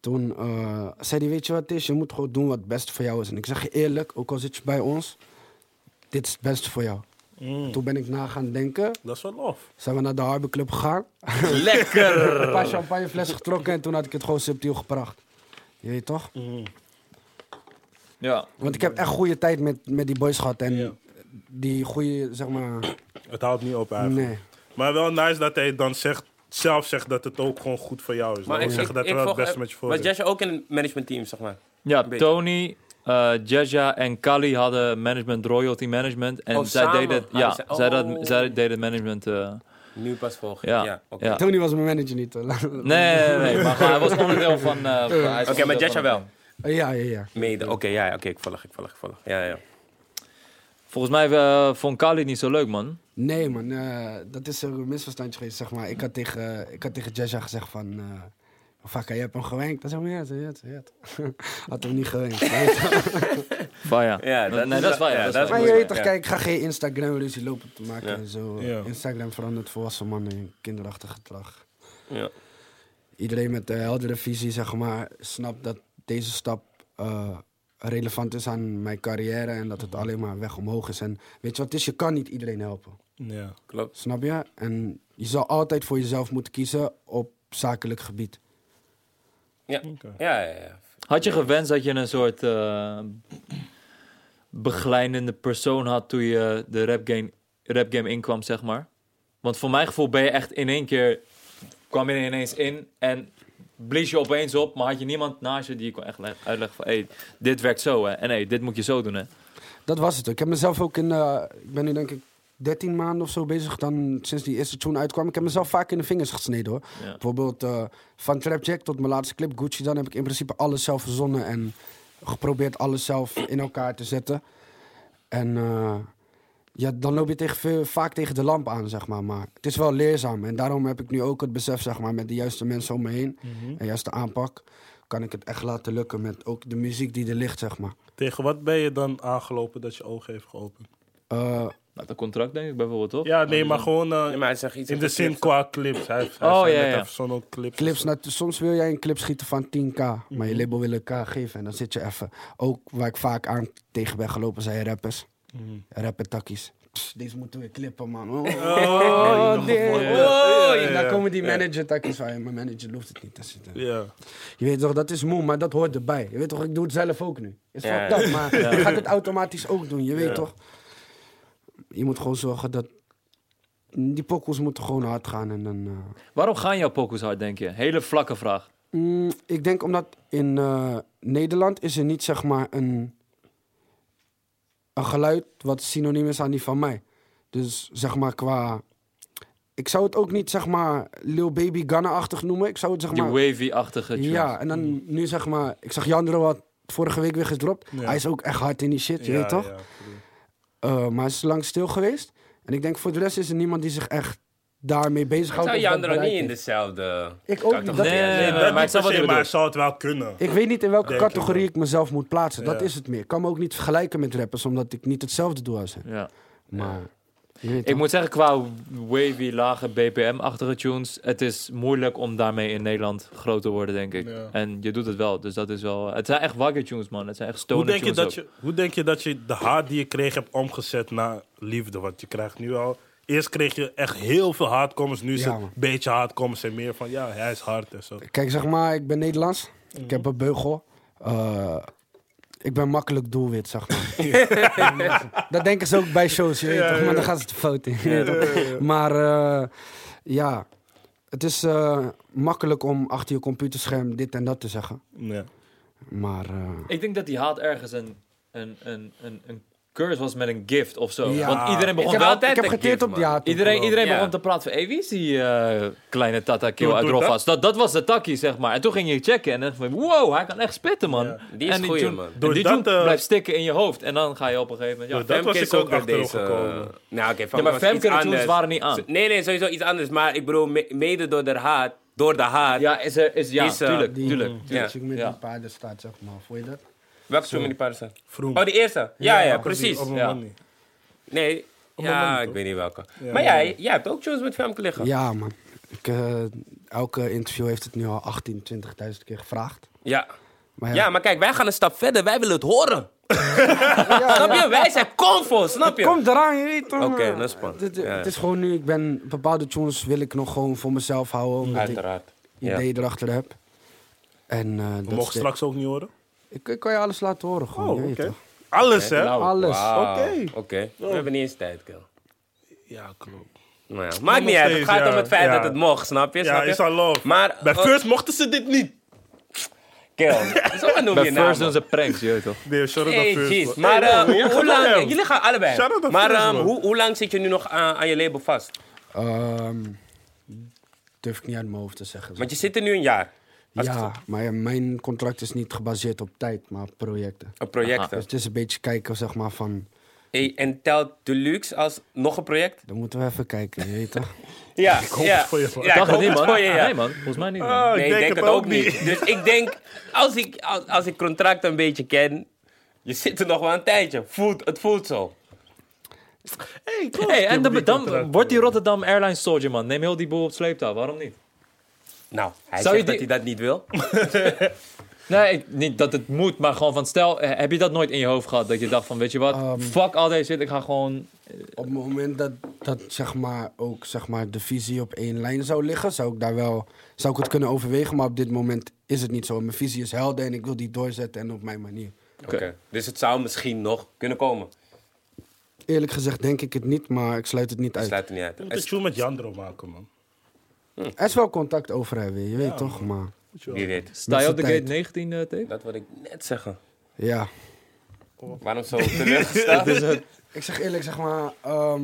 Toen eh, zei hij, weet je wat het is? Je moet gewoon doen wat het beste voor jou is. En ik zeg je eerlijk, ook al zit je bij ons... Dit is het beste voor jou. Toen ben ik na gaan denken. Dat is wel lof. Zijn we naar de Harbor Club gegaan. Lekker! Een Eh. paar champagneflessen getrokken en toen had ik het gewoon subtiel gebracht. Je weet toch? Mm. ja. Want ik heb echt goede tijd met, met die boys gehad. En Ja. die goede, zeg maar. Het houdt niet op eigenlijk. Nee. Maar wel nice dat hij dan zegt, zelf zegt dat het ook gewoon goed voor jou Maar is. Maar ik ik zeg zeg dat er wel het beste met je voor Was is. Jesse ook in het managementteam, zeg maar? Ja, Een beetje. Tony, eh Jaja en Kali hadden management, royalty management. En Oh, zij samen deden hadden ja, zij- zij, oh. dat, zij deden management. eh, Nu pas volg ja ja, ja, oké. Tony was mijn manager niet. hoor. Eh, Nee, nee, nee, maar gewoon, hij was onderdeel van. eh, van- hij is Oké, maar onderdeel Jaja van- wel. ja, ja, ja. Mede, oké, ja, ja, oké, ik volg, ik volg, ik volg. Ja, ja. Volgens mij eh, vond Kali het niet zo leuk, man. Nee, man. eh, dat is een misverstandje geweest, zeg maar. Ik had tegen, eh, ik had tegen Jaja gezegd van... eh, Vakka, je hebt hem gewenkt. Dat is hem, ja, ja, ja, ja. Had hem niet gewenkt. Vaya. Ja, dat- nee, dat is waar. ja, Ja, dat dat is waar. maar je weet toch, Ja. kijk, ik ga geen Instagram ruzie lopen te maken en zo. Ja. Instagram verandert volwassen mannen in kinderachtig gedrag. ja. iedereen met de heldere visie, zeg maar, snapt dat deze stap eh, relevant is aan mijn carrière en dat het alleen maar weg omhoog is. En weet je wat het is? Je kan niet iedereen helpen. Ja. Klopt. Snap je? En je zal altijd voor jezelf moeten kiezen op zakelijk gebied. Ja. Ja, ja, ja. Had je gewenst dat je een soort eh, begeleidende persoon had toen je de rap game, rap game inkwam, zeg maar? Want voor mijn gevoel ben je echt in één keer, kwam je er ineens in en blies je opeens op, maar had je niemand naast je die je kon echt leg- uitleggen van, hey, dit werkt zo, hè? En hey, dit moet je zo doen, hè? Dat was het. Ik heb mezelf ook in, eh, ik ben nu denk ik 13 maanden of zo bezig dan sinds die eerste tune uitkwam. Ik heb mezelf vaak in de vingers gesneden hoor. Ja. Bijvoorbeeld eh, van Trap Jack tot mijn laatste clip Gucci, dan heb ik in principe alles zelf verzonnen en geprobeerd alles zelf in elkaar te zetten. En eh, ja, dan loop je tegen, veel- vaak tegen de lamp aan, zeg maar. Maar het is wel leerzaam en daarom heb ik nu ook het besef, zeg maar, met de juiste mensen om me heen en juiste aanpak, kan ik het echt laten lukken met ook de muziek die er ligt, zeg maar. Tegen wat ben je dan aangelopen dat je ogen heeft geopend? Eh, Met een Nou, contract, denk ik bijvoorbeeld, toch? Ja, nee, maar gewoon eh, Nee, maar hij zegt iets in de over zin clips. qua clips. Hij heeft, hij Oh, heeft ja, net ja. even zo'n ook clips. Clips, nou, soms wil jij een clip schieten van 10k, maar Mhm. je label wil een k geven en dan zit je even. Ook waar ik vaak aan tegen ben gelopen zijn rappers, Mhm. rappertakkies. Pss, Deze moeten we clippen, man. Oh, Oh, die nog dit. voor- Oh, ja, ja, En ja. daar komen die manager-takkies van. ja, Mijn manager loopt het niet. te zitten. Ja. Je weet toch, dat is moe, maar dat hoort erbij. Je weet toch, ik doe het zelf ook nu. Is Ja. fucked up, maar je gaat het automatisch ook doen. Je weet toch. Je moet gewoon zorgen dat... Die pokkels moeten gewoon hard gaan en dan... eh, Waarom gaan jouw pokus hard, denk je? Hele vlakke vraag. Mm, ik denk omdat in eh, Nederland is er niet zeg maar een, een geluid wat synoniem is aan die van mij. Dus zeg maar qua... Ik zou het ook niet zeg maar Lil Baby Ghana-achtig noemen. Ik zou het zeg Die maar... wavy-achtige tunes. Ja, en Mm-hmm. dan nu zeg maar... Ik zag Jandro wat vorige week weer gedropt. Ja. Hij is ook echt hard in die shit, je Ja, weet toch? ja. Eh, maar hij is lang stil geweest. En ik denk voor de rest is er niemand die zich echt daarmee Ik bezighoudt. zou of dat Jandro bereikt niet in heeft. dezelfde... Ik ook niet. Dat- categorie Nee, zetten. nee, nee, Dat maar ik niet snap per wat se, je maar hij bedoelt. zou het wel kunnen. Ik weet niet in welke Denk ik categorie ik, mezelf moet plaatsen. Dat Ja. is het meer. Ik kan me ook niet vergelijken met rappers, omdat ik niet hetzelfde doe als hen. Ja. Maar je weet Ik toch? moet zeggen, qua wavy, lage BPM-achtige tunes, het is moeilijk om daarmee in Nederland groot te worden, denk ik. Ja. En je doet het wel, dus dat is wel... Het zijn echt wagger tunes, man. Het zijn echt stoner Hoe denk, je tunes dat je, hoe denk je dat je de haat die je kreeg hebt omgezet naar liefde? Want je krijgt nu al... Eerst kreeg je echt heel veel haatcommers. Nu is Ja, het een man. beetje haatcommers en meer van... Ja, hij is hard en zo. Kijk, zeg maar, ik ben Nederlands. Mhm. Ik heb een beugel. Eh, ik ben makkelijk doelwit, zeg maar. dat denken ze ook bij shows, je weet Ja, toch? Maar ja. dan gaan ze de fout in. je weet toch? Maar eh, ja, het is eh, makkelijk om achter je computerscherm dit en dat te zeggen. Ja. Maar eh, Ik denk dat die haat ergens een, een, een, een, een curse was met een gift of zo. Ja. Want iedereen begon heb wel... altijd ik heb een geteerd gift, op die man. haat. Iedereen, iedereen Ja. begon te praten van, hey, wie is die eh, kleine Tata Kill Doe- uit doe dat? Rofas? Dat, dat was de takkie, zeg maar. En toen ging je checken en dan van, wow, hij kan echt spitten, man. Ja. Die is en goeie, tune- man. en Door die dat, tune eh, blijft stikken in je hoofd. En dan ga je op een gegeven moment, ja, Door dat was is ik ook met achterop gekomen. Nou, oké, Femke Ja, maar was Femke iets de tunes anders. waren niet aan. Nee, nee, sowieso iets anders. Maar ik bedoel, me- mede door de haat, door de haat. Ja, is er, is, ja Is, eh, tuurlijk, die, tuurlijk. die Ja. chick met Ja. die paarden staat, zeg maar. Voel je dat? Welke toen met die paarden? Vroom. Oh, die eerste? Ja, ja, Op die- precies. op een ja. manier. Nee, ja, moment, ik toch? weet niet welke. Maar jij, jij hebt ook tunes met Femke liggen. Ja. Ja, man. Ik, eh, elke interview heeft het nu al 18, 20.000 keer gevraagd. ja. Ah, Maar ja, maar kijk, wij gaan een stap verder. Wij willen het horen. ja, Snap ja. je? Wij zijn comfort, snap je? Komt eraan, je weet toch? Oké, man. dat is spannend. Het, het- Ja, ja. het is gewoon nu, ik ben bepaalde tunes wil ik nog gewoon voor mezelf houden. Omdat Uiteraard. ik Ja. ideeën erachter heb. En eh We dat mogen is de- straks ook niet horen. ik, ik kan je alles laten horen gewoon. Oh, je oké. Oh, weet toch? Alles, hè? Nou, Alles. Wauw, Oké. Ah, Oké, we hebben niet eens tijd, Kel. Ja, klopt. Nou ja, maakt nog niet uit. Het steeds, gaat ja. om het feit Ja. dat het mocht, snap je? Ja, snap je? is al love. Maar, Bij eh, First mochten ze dit niet. Kel, zo noem je bij naam. First doen ze pranks, je weet toch. Nee, shout-out Hey, aan First. jeez. man. Maar Hey, eh, man, jij hoe, hoe gaat lang... hem. Jullie gaan allebei. Shout-out aan Maar First, ehm, man. hoe, hoe lang zit je nu nog aan, aan je label vast? Ehm, durf ik niet uit mijn hoofd te zeggen. Want je zit er nu een jaar. Als ik ja, maar ja, mijn contract is niet gebaseerd op tijd, maar op projecten. Op projecten. Dus het is een beetje kijken, zeg maar, van... Hey, en telt Deluxe als nog een project? Dan moeten we even kijken, je weet toch? Ja, hoop ja. het voor je, man. Ja, ik Dacht het hoop niet, het man. voor je, ja. Nee, man. Volgens mij niet, man. Oh, Nee, ik denk, het ook niet. dus ik denk, als ik, als, als ik contract een beetje ken, je zit er nog wel een tijdje. Voelt, het voelt zo. Hey, klopt. Hey, en Ik heb dan, die dan contract. wordt die Rotterdam Airlines soldier, man. Neem heel die boel op sleeptouw, waarom niet? Nou, hij Zou je zegt dat die- hij dat niet wil. Nee, ik- niet dat het moet, maar gewoon van stel, eh, heb je dat nooit in je hoofd gehad? Dat je dacht van, weet je wat, Ehm. fuck al deze shit, ik ga gewoon... Op het moment dat, dat zeg maar, ook zeg maar, de visie op één lijn zou liggen, zou ik daar wel zou ik het kunnen overwegen. Maar op dit moment is het niet zo. Mijn visie is helder en ik wil die doorzetten en op mijn manier. Oké. Dus het zou misschien nog kunnen komen. Eerlijk gezegd denk ik het niet, maar ik sluit het niet Dat uit. sluit er niet uit. Je moet Het een is- tune met Jandro maken, man. Er is wel contact over hebben, je weet toch? Maar Wie weet. Sta je op de Tijd. gate 19, eh tape? Dat wil ik net zeggen. ja. Waarom zo teleurgesteld? Ik zeg eerlijk, zeg maar, ehm,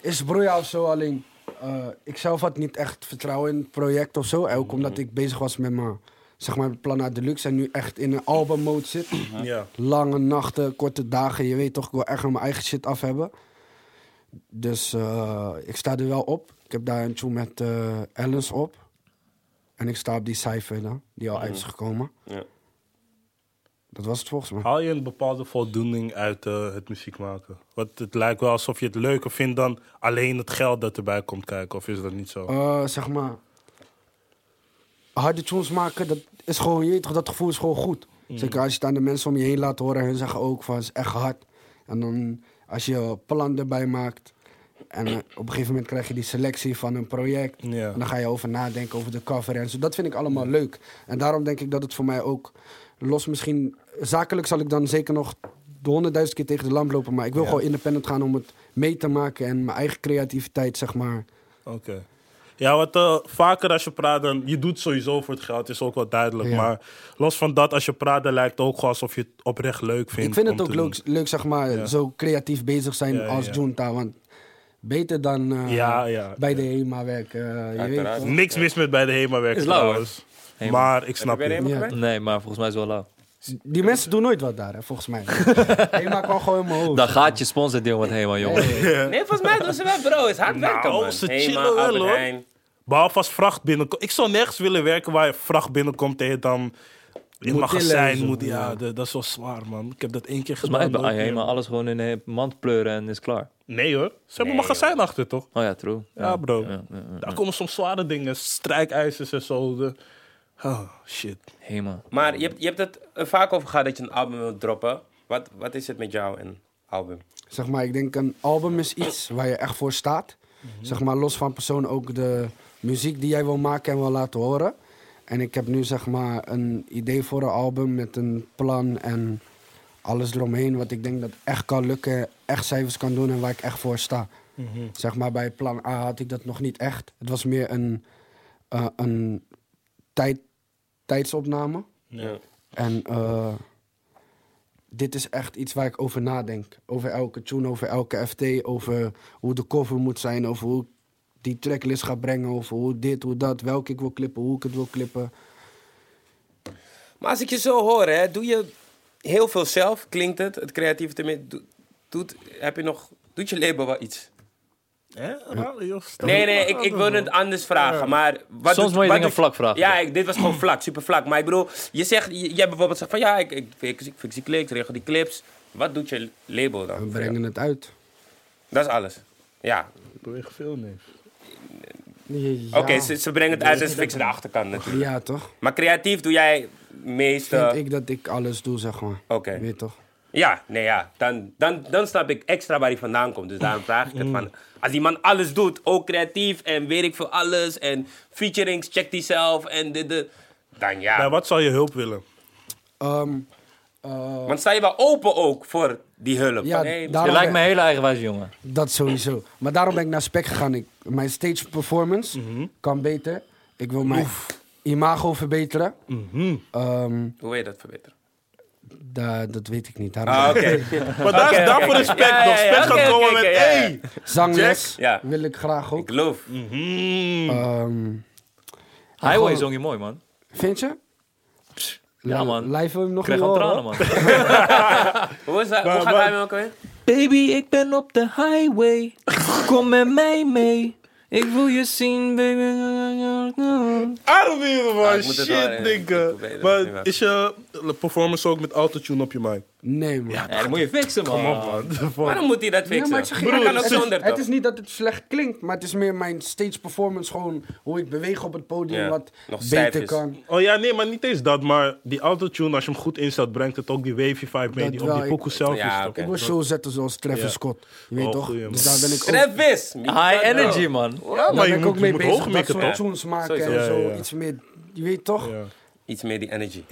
is broeia of zo alleen. eh, ik zelf had niet echt vertrouwen in het project of zo. Ook omdat ik bezig was met mijn zeg maar, plan naar deluxe en nu echt in een albummode zit. Ja. lange nachten, korte dagen. Je weet toch, ik wil echt mijn eigen shit af hebben. Dus eh, ik sta er wel op. Ik heb daar een tune met eh Alice op. En ik sta op die cijfer dan, die al uit is gekomen. Ja. Dat was het volgens mij. Haal je een bepaalde voldoening uit eh, het muziek maken? Want het lijkt wel alsof je het leuker vindt dan alleen het geld dat erbij komt kijken. Of is dat niet zo? Eh, zeg maar. Harde tunes maken, dat is gewoon, je weet toch, dat gevoel is gewoon goed. Mm. Zeker als je het aan de mensen om je heen laat horen en hun zeggen ook van, het is echt hard. En dan, als je plan erbij maakt. En eh, op een gegeven moment krijg je die selectie van een project. Ja. Mm. En dan ga je over nadenken over de cover en zo. Dat vind ik allemaal leuk. En daarom denk ik dat het voor mij ook los misschien... Zakelijk zal ik dan zeker nog de honderdduizend keer tegen de lamp lopen. Maar ik wil gewoon independent gaan om het mee te maken. En mijn eigen creativiteit, zeg maar, Oké. Ja, wat eh, vaker als je praat, dan, je doet sowieso voor het geld, is ook wel duidelijk. Ja. Maar los van dat, als je praat, dan lijkt het ook gewoon alsof je het oprecht leuk vindt. Ik vind het om ook te doen. leuk, leuk, zeg maar, Ja. zo creatief bezig zijn Ja, ja, als ja. Junta. Want beter dan eh, Ja, ja. bij de HEMA werken. eh, je weet Uiteraard. toch? Niks mis met bij de HEMA werken Is lauw, hè? trouwens. HEMA. Maar ik snap Heb je bij de je. Ja. HEMA gewerkt? Nee, maar volgens mij is het wel lauw. Die mensen doen nooit wat daar, hè, volgens mij. HEMA kan gewoon in mijn hoofd. Dan gaat je sponsor deel wat helemaal, jongen. Nee, volgens mij doen ze wel, bro. Het is hard werken, Nou, man. ze Hey, chillen maar wel, Albert hoor. Heijn. Behalve als vracht binnenkomt. Ik zou nergens willen werken waar vracht binnenkomt en je dan in Moet tillen en magazijn zo, moet. Ja, ja. de- dat is wel zwaar, man. Ik heb dat één keer Volgens mij gedaan. is bij nooit meer. helemaal alles gewoon in een mand pleuren en is klaar. Nee hoor, ze hebben Nee, magazijn achter toch? Oh ja, true. Ja, bro. Ja, ja, ja. Daar komen soms zware dingen, strijkijzers en zo. De- Oh, shit. Helemaal. Maar je hebt, je hebt het er vaak over gehad dat je een album wilt droppen. Wat, wat is het met jou en album? Zeg maar, ik denk een album is iets waar je echt voor staat. Zeg maar, los van persoon ook de muziek die jij wil maken en wil laten horen. En ik heb nu zeg maar een idee voor een album met een plan en alles eromheen. Wat ik denk dat echt kan lukken, echt cijfers kan doen en waar ik echt voor sta. Zeg maar, bij plan A had ik dat nog niet echt. Het was meer een, eh, een tijd, tijdsopname. Ja. En eh, dit is echt iets waar ik over nadenk. Over elke tune, over elke FT, over hoe de cover moet zijn, over hoe ik die tracklist ga brengen, over hoe dit, hoe dat, welke ik wil klippen, hoe ik het wil klippen. Maar als ik je zo hoor, hè, doe je heel veel zelf, klinkt het. Het creatieve tenminste, doet- doet, heb je nog, doet je label wel iets? Hè? Nou, joh, stel- Nee, nee, ik, ik wil het anders vragen, maar... Wat Soms doet- moet je wat dingen doet- vlak vragen. Ja, ik- dit was gewoon vlak, super vlak. Maar ik bedoel, je zegt, j- jij bijvoorbeeld zegt van ja, ik, ik, ik, ik fix die kliks, regel die clips. Wat doet je label dan? We voor jou? brengen het uit. Dat is alles. Ja, Ik beweeg veel, nee. Ja, oké, ze, ze brengen het uit en ze fixen de achterkant natuurlijk. ja toch? Maar creatief doe jij meeste... Vind Oké. ik dat ik alles doe, zeg maar. Weet je toch? Ja, nee ja. Dan, dan, dan snap ik extra waar hij vandaan komt. Dus daarom vraag ik het Mm. van... Als die man alles doet, ook creatief en weet ik veel alles... en featurings, check die zelf en dit, dit, dan Bij ja. wat zou je hulp willen? Ehm, eh, Want sta je wel open ook voor die hulp? Ja, Van, hey, daarom- Je lijkt me een hele eigenwijze jongen. Dat sowieso. Maar daarom ben ik naar spec gegaan. Ik, mijn stage performance kan beter. Ik wil mijn imago verbeteren. Ehm, Hoe weet je dat verbeteren? da- dat weet ik niet. Daarom Ah, oké. Maar daar Oké, is daarvoor oké, is oké. spek Ja, nog. ja, ja, Spek gaat oké, komen oké, met, oké, ja, ja. hey! Zangles Ja. wil ik graag ook. Geloof. Mm. Ah. Ehm, Highway gewoon- zong je mooi, man. vind je? Ja, Li- man. Live wil je hem nog Ik krijg niet gewoon horen, tranen, man. Hoe, is dat, Maar- hoe gaat maar- hij met elkaar weer? Baby, ik ben op de highway. Kom met mij mee. Ik wil je zien, baby. Ademheren, Ah, man. ik moet het wel, eh, Shit, ik weet denken. het niet Maar waar. is je performance ook met autotune op je mic? hoor. Nee, man. Ja, dat moet je fixen, Ah. man. Maar dan moet hij dat fixen. Ja, maar ik zeg je hij eerlijk, kan ook het, zonder, is, het toch? is niet dat het slecht klinkt, maar het is meer mijn stage performance. Gewoon hoe ik beweeg op het podium, Ja, wat nog stijf beter is. kan. Oh ja, nee, maar niet eens dat. Maar die autotune, als je hem goed instelt, brengt het ook die wavy vibe mee Dat die wel, op die ik- pokoe zelf Ja, is. oké. Ik wil show zetten zoals Travis Ja. Scott. Je weet Oh, toch? goeie, man. dus daar ben ik ook, daar Travis! High energy, man. Ja, maar ben je ik ook moet, mee je moet bezig. hoog dat mikken, soort toch? tunes maken Sowieso. en Ja, zo. ja, ja. Iets meer, je weet toch? Ja. Iets meer die energy.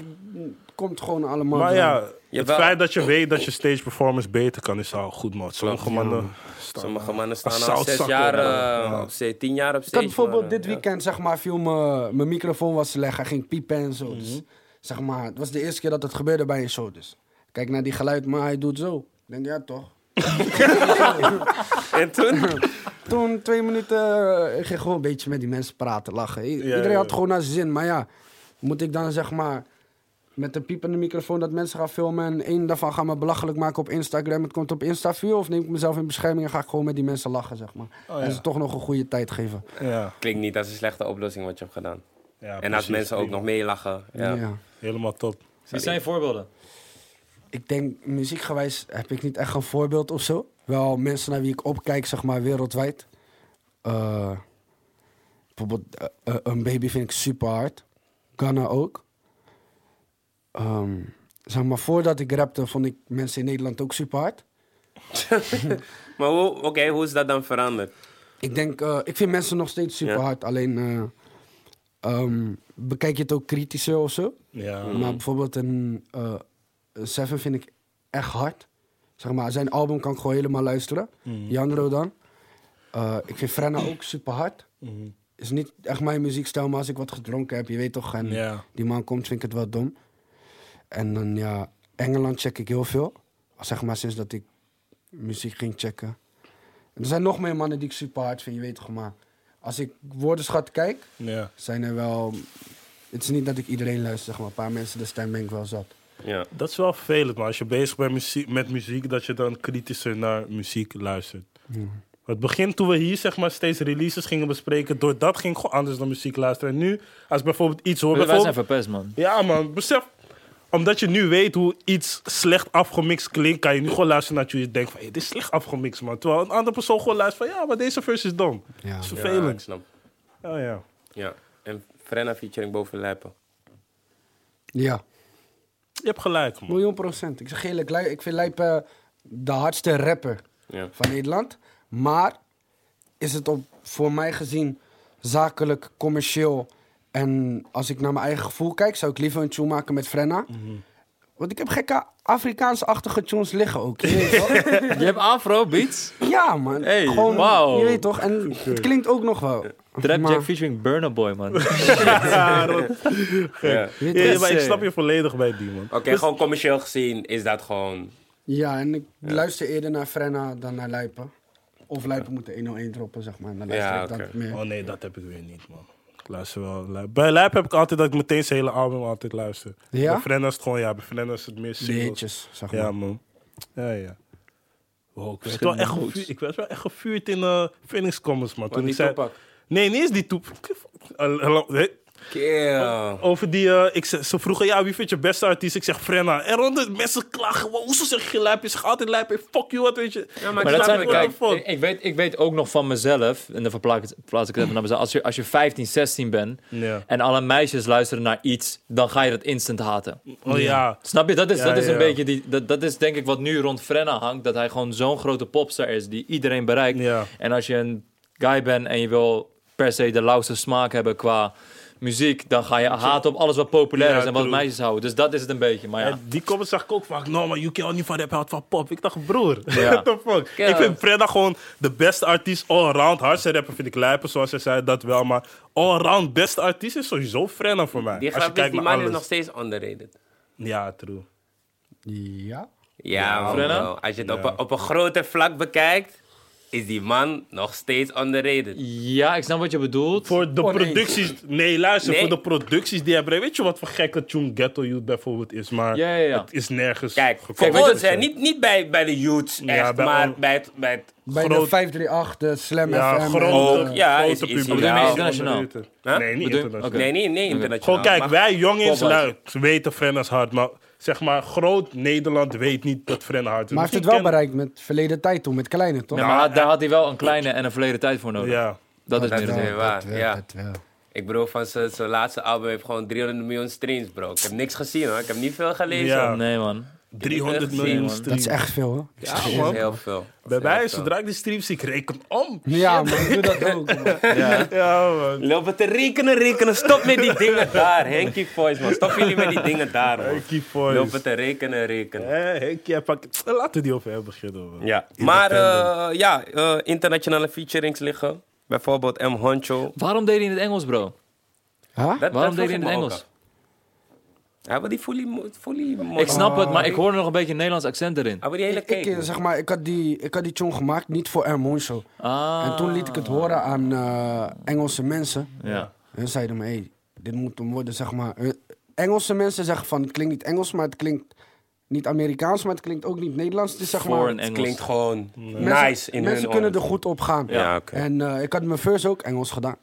Komt gewoon allemaal. Maar door. ja, het Jawel. feit dat je weet dat je stage performance beter kan, is al goed, man. Sommige mannen... Sommige mannen staan al zoutzakken, zes jaar, man. eh, op zee- tien jaar op Ik had stage. bijvoorbeeld maar, dit eh, weekend, zeg maar, viel me- mijn microfoon was te leggen. Hij ging piepen en Mhm. zo. Dus, zeg maar, het was de eerste keer dat het gebeurde bij een show. Dus. Kijk naar die geluid, maar hij doet zo. Ik denk, ja toch. ja. En toen? Toen, twee minuten, eh, ik ging gewoon een beetje met die mensen praten, lachen. I- Iedereen ja. had gewoon naar zijn zin. Maar ja, moet ik dan zeg maar met een piepende microfoon dat mensen gaan filmen... en één daarvan gaan me belachelijk maken op Instagram. Het komt op Insta vuur of neem ik mezelf in bescherming... en ga ik gewoon met die mensen lachen, zeg maar. Oh, ja. En ze toch nog een goede tijd geven. eh, Ja, Klinkt niet als een slechte oplossing wat je hebt gedaan. ja, en als mensen ook nog meelachen. Ja. Ja. Helemaal top. Wie zijn voorbeelden? ik denk, muziekgewijs heb ik niet echt een voorbeeld of zo. Wel mensen naar wie ik opkijk, zeg maar, wereldwijd. Eh, bijvoorbeeld, eh, eh, een baby vind ik super hard. Gunna ook. Ehm, zeg maar, voordat ik rapte, vond ik mensen in Nederland ook super hard. Maar hoe, oké, hoe is dat dan veranderd? Ik denk, eh, ik vind mensen nog steeds super hard. Alleen, eh, ehm, bekijk je het ook kritischer of zo? Ja. Mm. Maar bijvoorbeeld een eh, Seven vind ik echt hard. Zeg maar, zijn album kan ik gewoon helemaal luisteren. Mhm. Jandro dan. Eh, ik vind Frenna ook super hard. Mhm. Is niet echt mijn muziekstijl, maar als ik wat gedronken heb, je weet toch. En Ja. die man komt, vind ik het wel dom. En dan ja, Engeland check ik heel veel. Zeg maar sinds dat ik muziek ging checken. En er zijn nog meer mannen die ik super hard vind, je weet toch. Maar als ik woordenschat kijk, Ja. zijn er wel. Het is niet dat ik iedereen luister, zeg maar een paar mensen de stem ben ik wel zat. Ja. Dat is wel vervelend, maar als je bezig bent muzie- met muziek, dat je dan kritischer naar muziek luistert. Het begin toen we hier zeg maar, steeds releases gingen bespreken, door dat ging ik gewoon anders dan muziek luisteren. En nu, als ik bijvoorbeeld iets hoor... Wij zijn Bijvoorbeeld, verpest, man. ja man, besef. Omdat je nu weet hoe iets slecht afgemixt klinkt, kan je nu gewoon luisteren naar je denkt van, hey, dit is slecht afgemixt man. Terwijl een andere persoon gewoon luistert van, ja, maar deze verse is dom. Ja. Dat is Ja, ik vervelend. snap. Oh ja. Ja. En Frenna featuring boven Leppen. Ja, Je hebt gelijk man. miljoen procent. Ik zeg eerlijk, Lij- ik vind Lijpen de hardste rapper Ja. van Nederland. Maar is het op, voor mij gezien zakelijk, commercieel. En als ik naar mijn eigen gevoel kijk, zou ik liever een tune maken met Frenna. Want ik heb gekke Afrikaans-achtige tunes liggen ook. Je weet toch? Je hebt afro beats. ja, man. Hey, Gewoon, wauw. Je weet toch? En het klinkt ook nog wel. Trap Maar- Jack featuring Burna Boy, man. Ja. Je weet Ja, toch? ja, maar ik snap je volledig bij die man. Oké, gewoon commercieel gezien is dat gewoon... Ja, en ik luister eerder naar Frenna dan naar Lijpen. Of Lijpen moet de 101 droppen, zeg maar. Dan luister Ja, ik dat oké. meer. Oh nee, dat heb ik weer niet, man. Ik luister wel. Lijp. Bij Lijp heb ik altijd dat ik meteen zijn hele album altijd luister. Ja? Bij Frenna is het gewoon, ja, bij Frenna is het meer De singles. hitjes, zeg maar. Ja, man. Ja, ja. Wow, ik, werd wel echt gevuurd, ik werd wel echt gevuurd in eh Phoenix Commons, man. Toen ik die zei... Toepak? Nee, niet eens die toep. Eh, Kill. Over die, eh, ik, ze ze vroegen, ja, wie vindt je beste artiest? Ik zeg Frenna. En rond de mensen klagen, wow, hoezo zeg je Lijp? Je zegt altijd Lijp, hey, fuck you, wat weet je. Ja, maar, Maar ik dat snap zijn, het. kijk, fuck? ik, ik weet, ik weet ook nog van mezelf, en dan verplaats ik- verplaats ik het even naar mezelf. Als je, als je 15, 16 bent Ja. en alle meisjes luisteren naar iets, dan ga je dat instant haten. eh, Oh ja. Snap je? Dat is, Ja, dat is een ja. beetje die, dat, dat is denk ik wat nu rond Frenna hangt. Dat hij gewoon zo'n grote popster is die iedereen bereikt. Ja. En als je een guy bent en je wil per se de lauwste smaak hebben qua muziek, dan ga je haten op alles wat populair Ja, is en wat true. meisjes houden. Dus dat is het een beetje. Maar ja. En die comments zag ik ook vaak. No, maar UK houdt niet van rap, hij houdt van pop. Ik dacht, broer, Ja. what the fuck? Ja. Ik vind Fredda gewoon de beste artiest allround. Hardste rapper vind ik lijpen, zoals hij zei, dat wel. Maar allround beste artiest is sowieso Fredda voor mij. Die Als je grap is, kijkt die naar man is nog alles. steeds underrated. Ja, true. Ja? Ja, man, Frenna? bro. Als je het op, een, op een groter vlak bekijkt, is die man nog steeds underrated. ja, ik snap wat je bedoelt. Voor de Oneens. producties... Nee, luister. Oh, Nee. Voor de producties die hij brengt. Weet je wat voor gekke tune Ghetto Youth bijvoorbeeld is? Maar Ja, ja, ja. het is nergens... Kijk, gekomen. voor ons, hè, niet, niet bij, bij de youths Ja, echt, bij maar on- bij het, bij het... Bij de Groot- 538, de Slam Ja, FM. grote, Ook, ja, grote is- is- publiek. bedoel je meer internationaal? Huh? Nee, niet Bedoel- internationaal. Oké. Nee, nee, nee, internationaal. Gewoon kijk, maar- wij jongens Voorbeeld. lui, weten Frenna is hard, maar zeg maar groot Nederland weet niet dat Frenna hard is. Dus Maar hij heeft het wel Misschien bereikt met verleden tijd toen, met Kleine, toch? Ja, maar daar had hij wel een kleine en een verleden tijd voor ken- nodig. Ja, Dat is Dat meer is het weer ding. waar, ja. wel. Ik bedoel, van zijn zijn laatste album heeft gewoon 300 miljoen streams, bro. Ik heb niks gezien, hoor. Ik heb niet veel gelezen. Ja. Nee, man. 300 gezien, miljoen man. Dat is streams. echt veel, hoor. Ja, dat is heel veel. Bij mij, is zodra ik de stream zie, ik reken om. Ja, maar ik doe dat ook. man. Ja, man. Lopen te rekenen, rekenen. Stop met die dingen daar, Henky Voice, man. Stop jullie met die dingen daar, man. Henkie Voice. Lopen te rekenen, rekenen. Hé, Henk, Eh, jij pakt... Laten we die over hem beginnen, man. Ja, maar Independent. eh, ja, eh, internationale featurings liggen. Bijvoorbeeld M. Honcho. Waarom deed hij in het Engels, bro? Huh? Dat, Waarom dat deed hij in vroeg het ik me ook Engels? af. Hij wil die fully... mo- fully mo- Ik snap Ah. het, maar ik hoor er nog een beetje een Nederlands accent erin. Hij wil Ah, die hele Ik, ik, cake. eh, zeg maar, ik had die, ik had die tune gemaakt, niet voor Air Show. Ah. En toen liet ik het horen aan eh, Engelse mensen. Ja. Hun zeiden me, hey, dit moet hem worden, zeg maar. Eh, Engelse mensen zeggen van, het klinkt niet Engels, maar het klinkt niet Amerikaans, maar het klinkt ook niet Nederlands. Het is zeg Voor maar... een Het Engels. klinkt gewoon Mensen- nice in Mensen hun kunnen er oren. goed op gaan. Ja, oké. En eh, ik had mijn first ook Engels gedaan.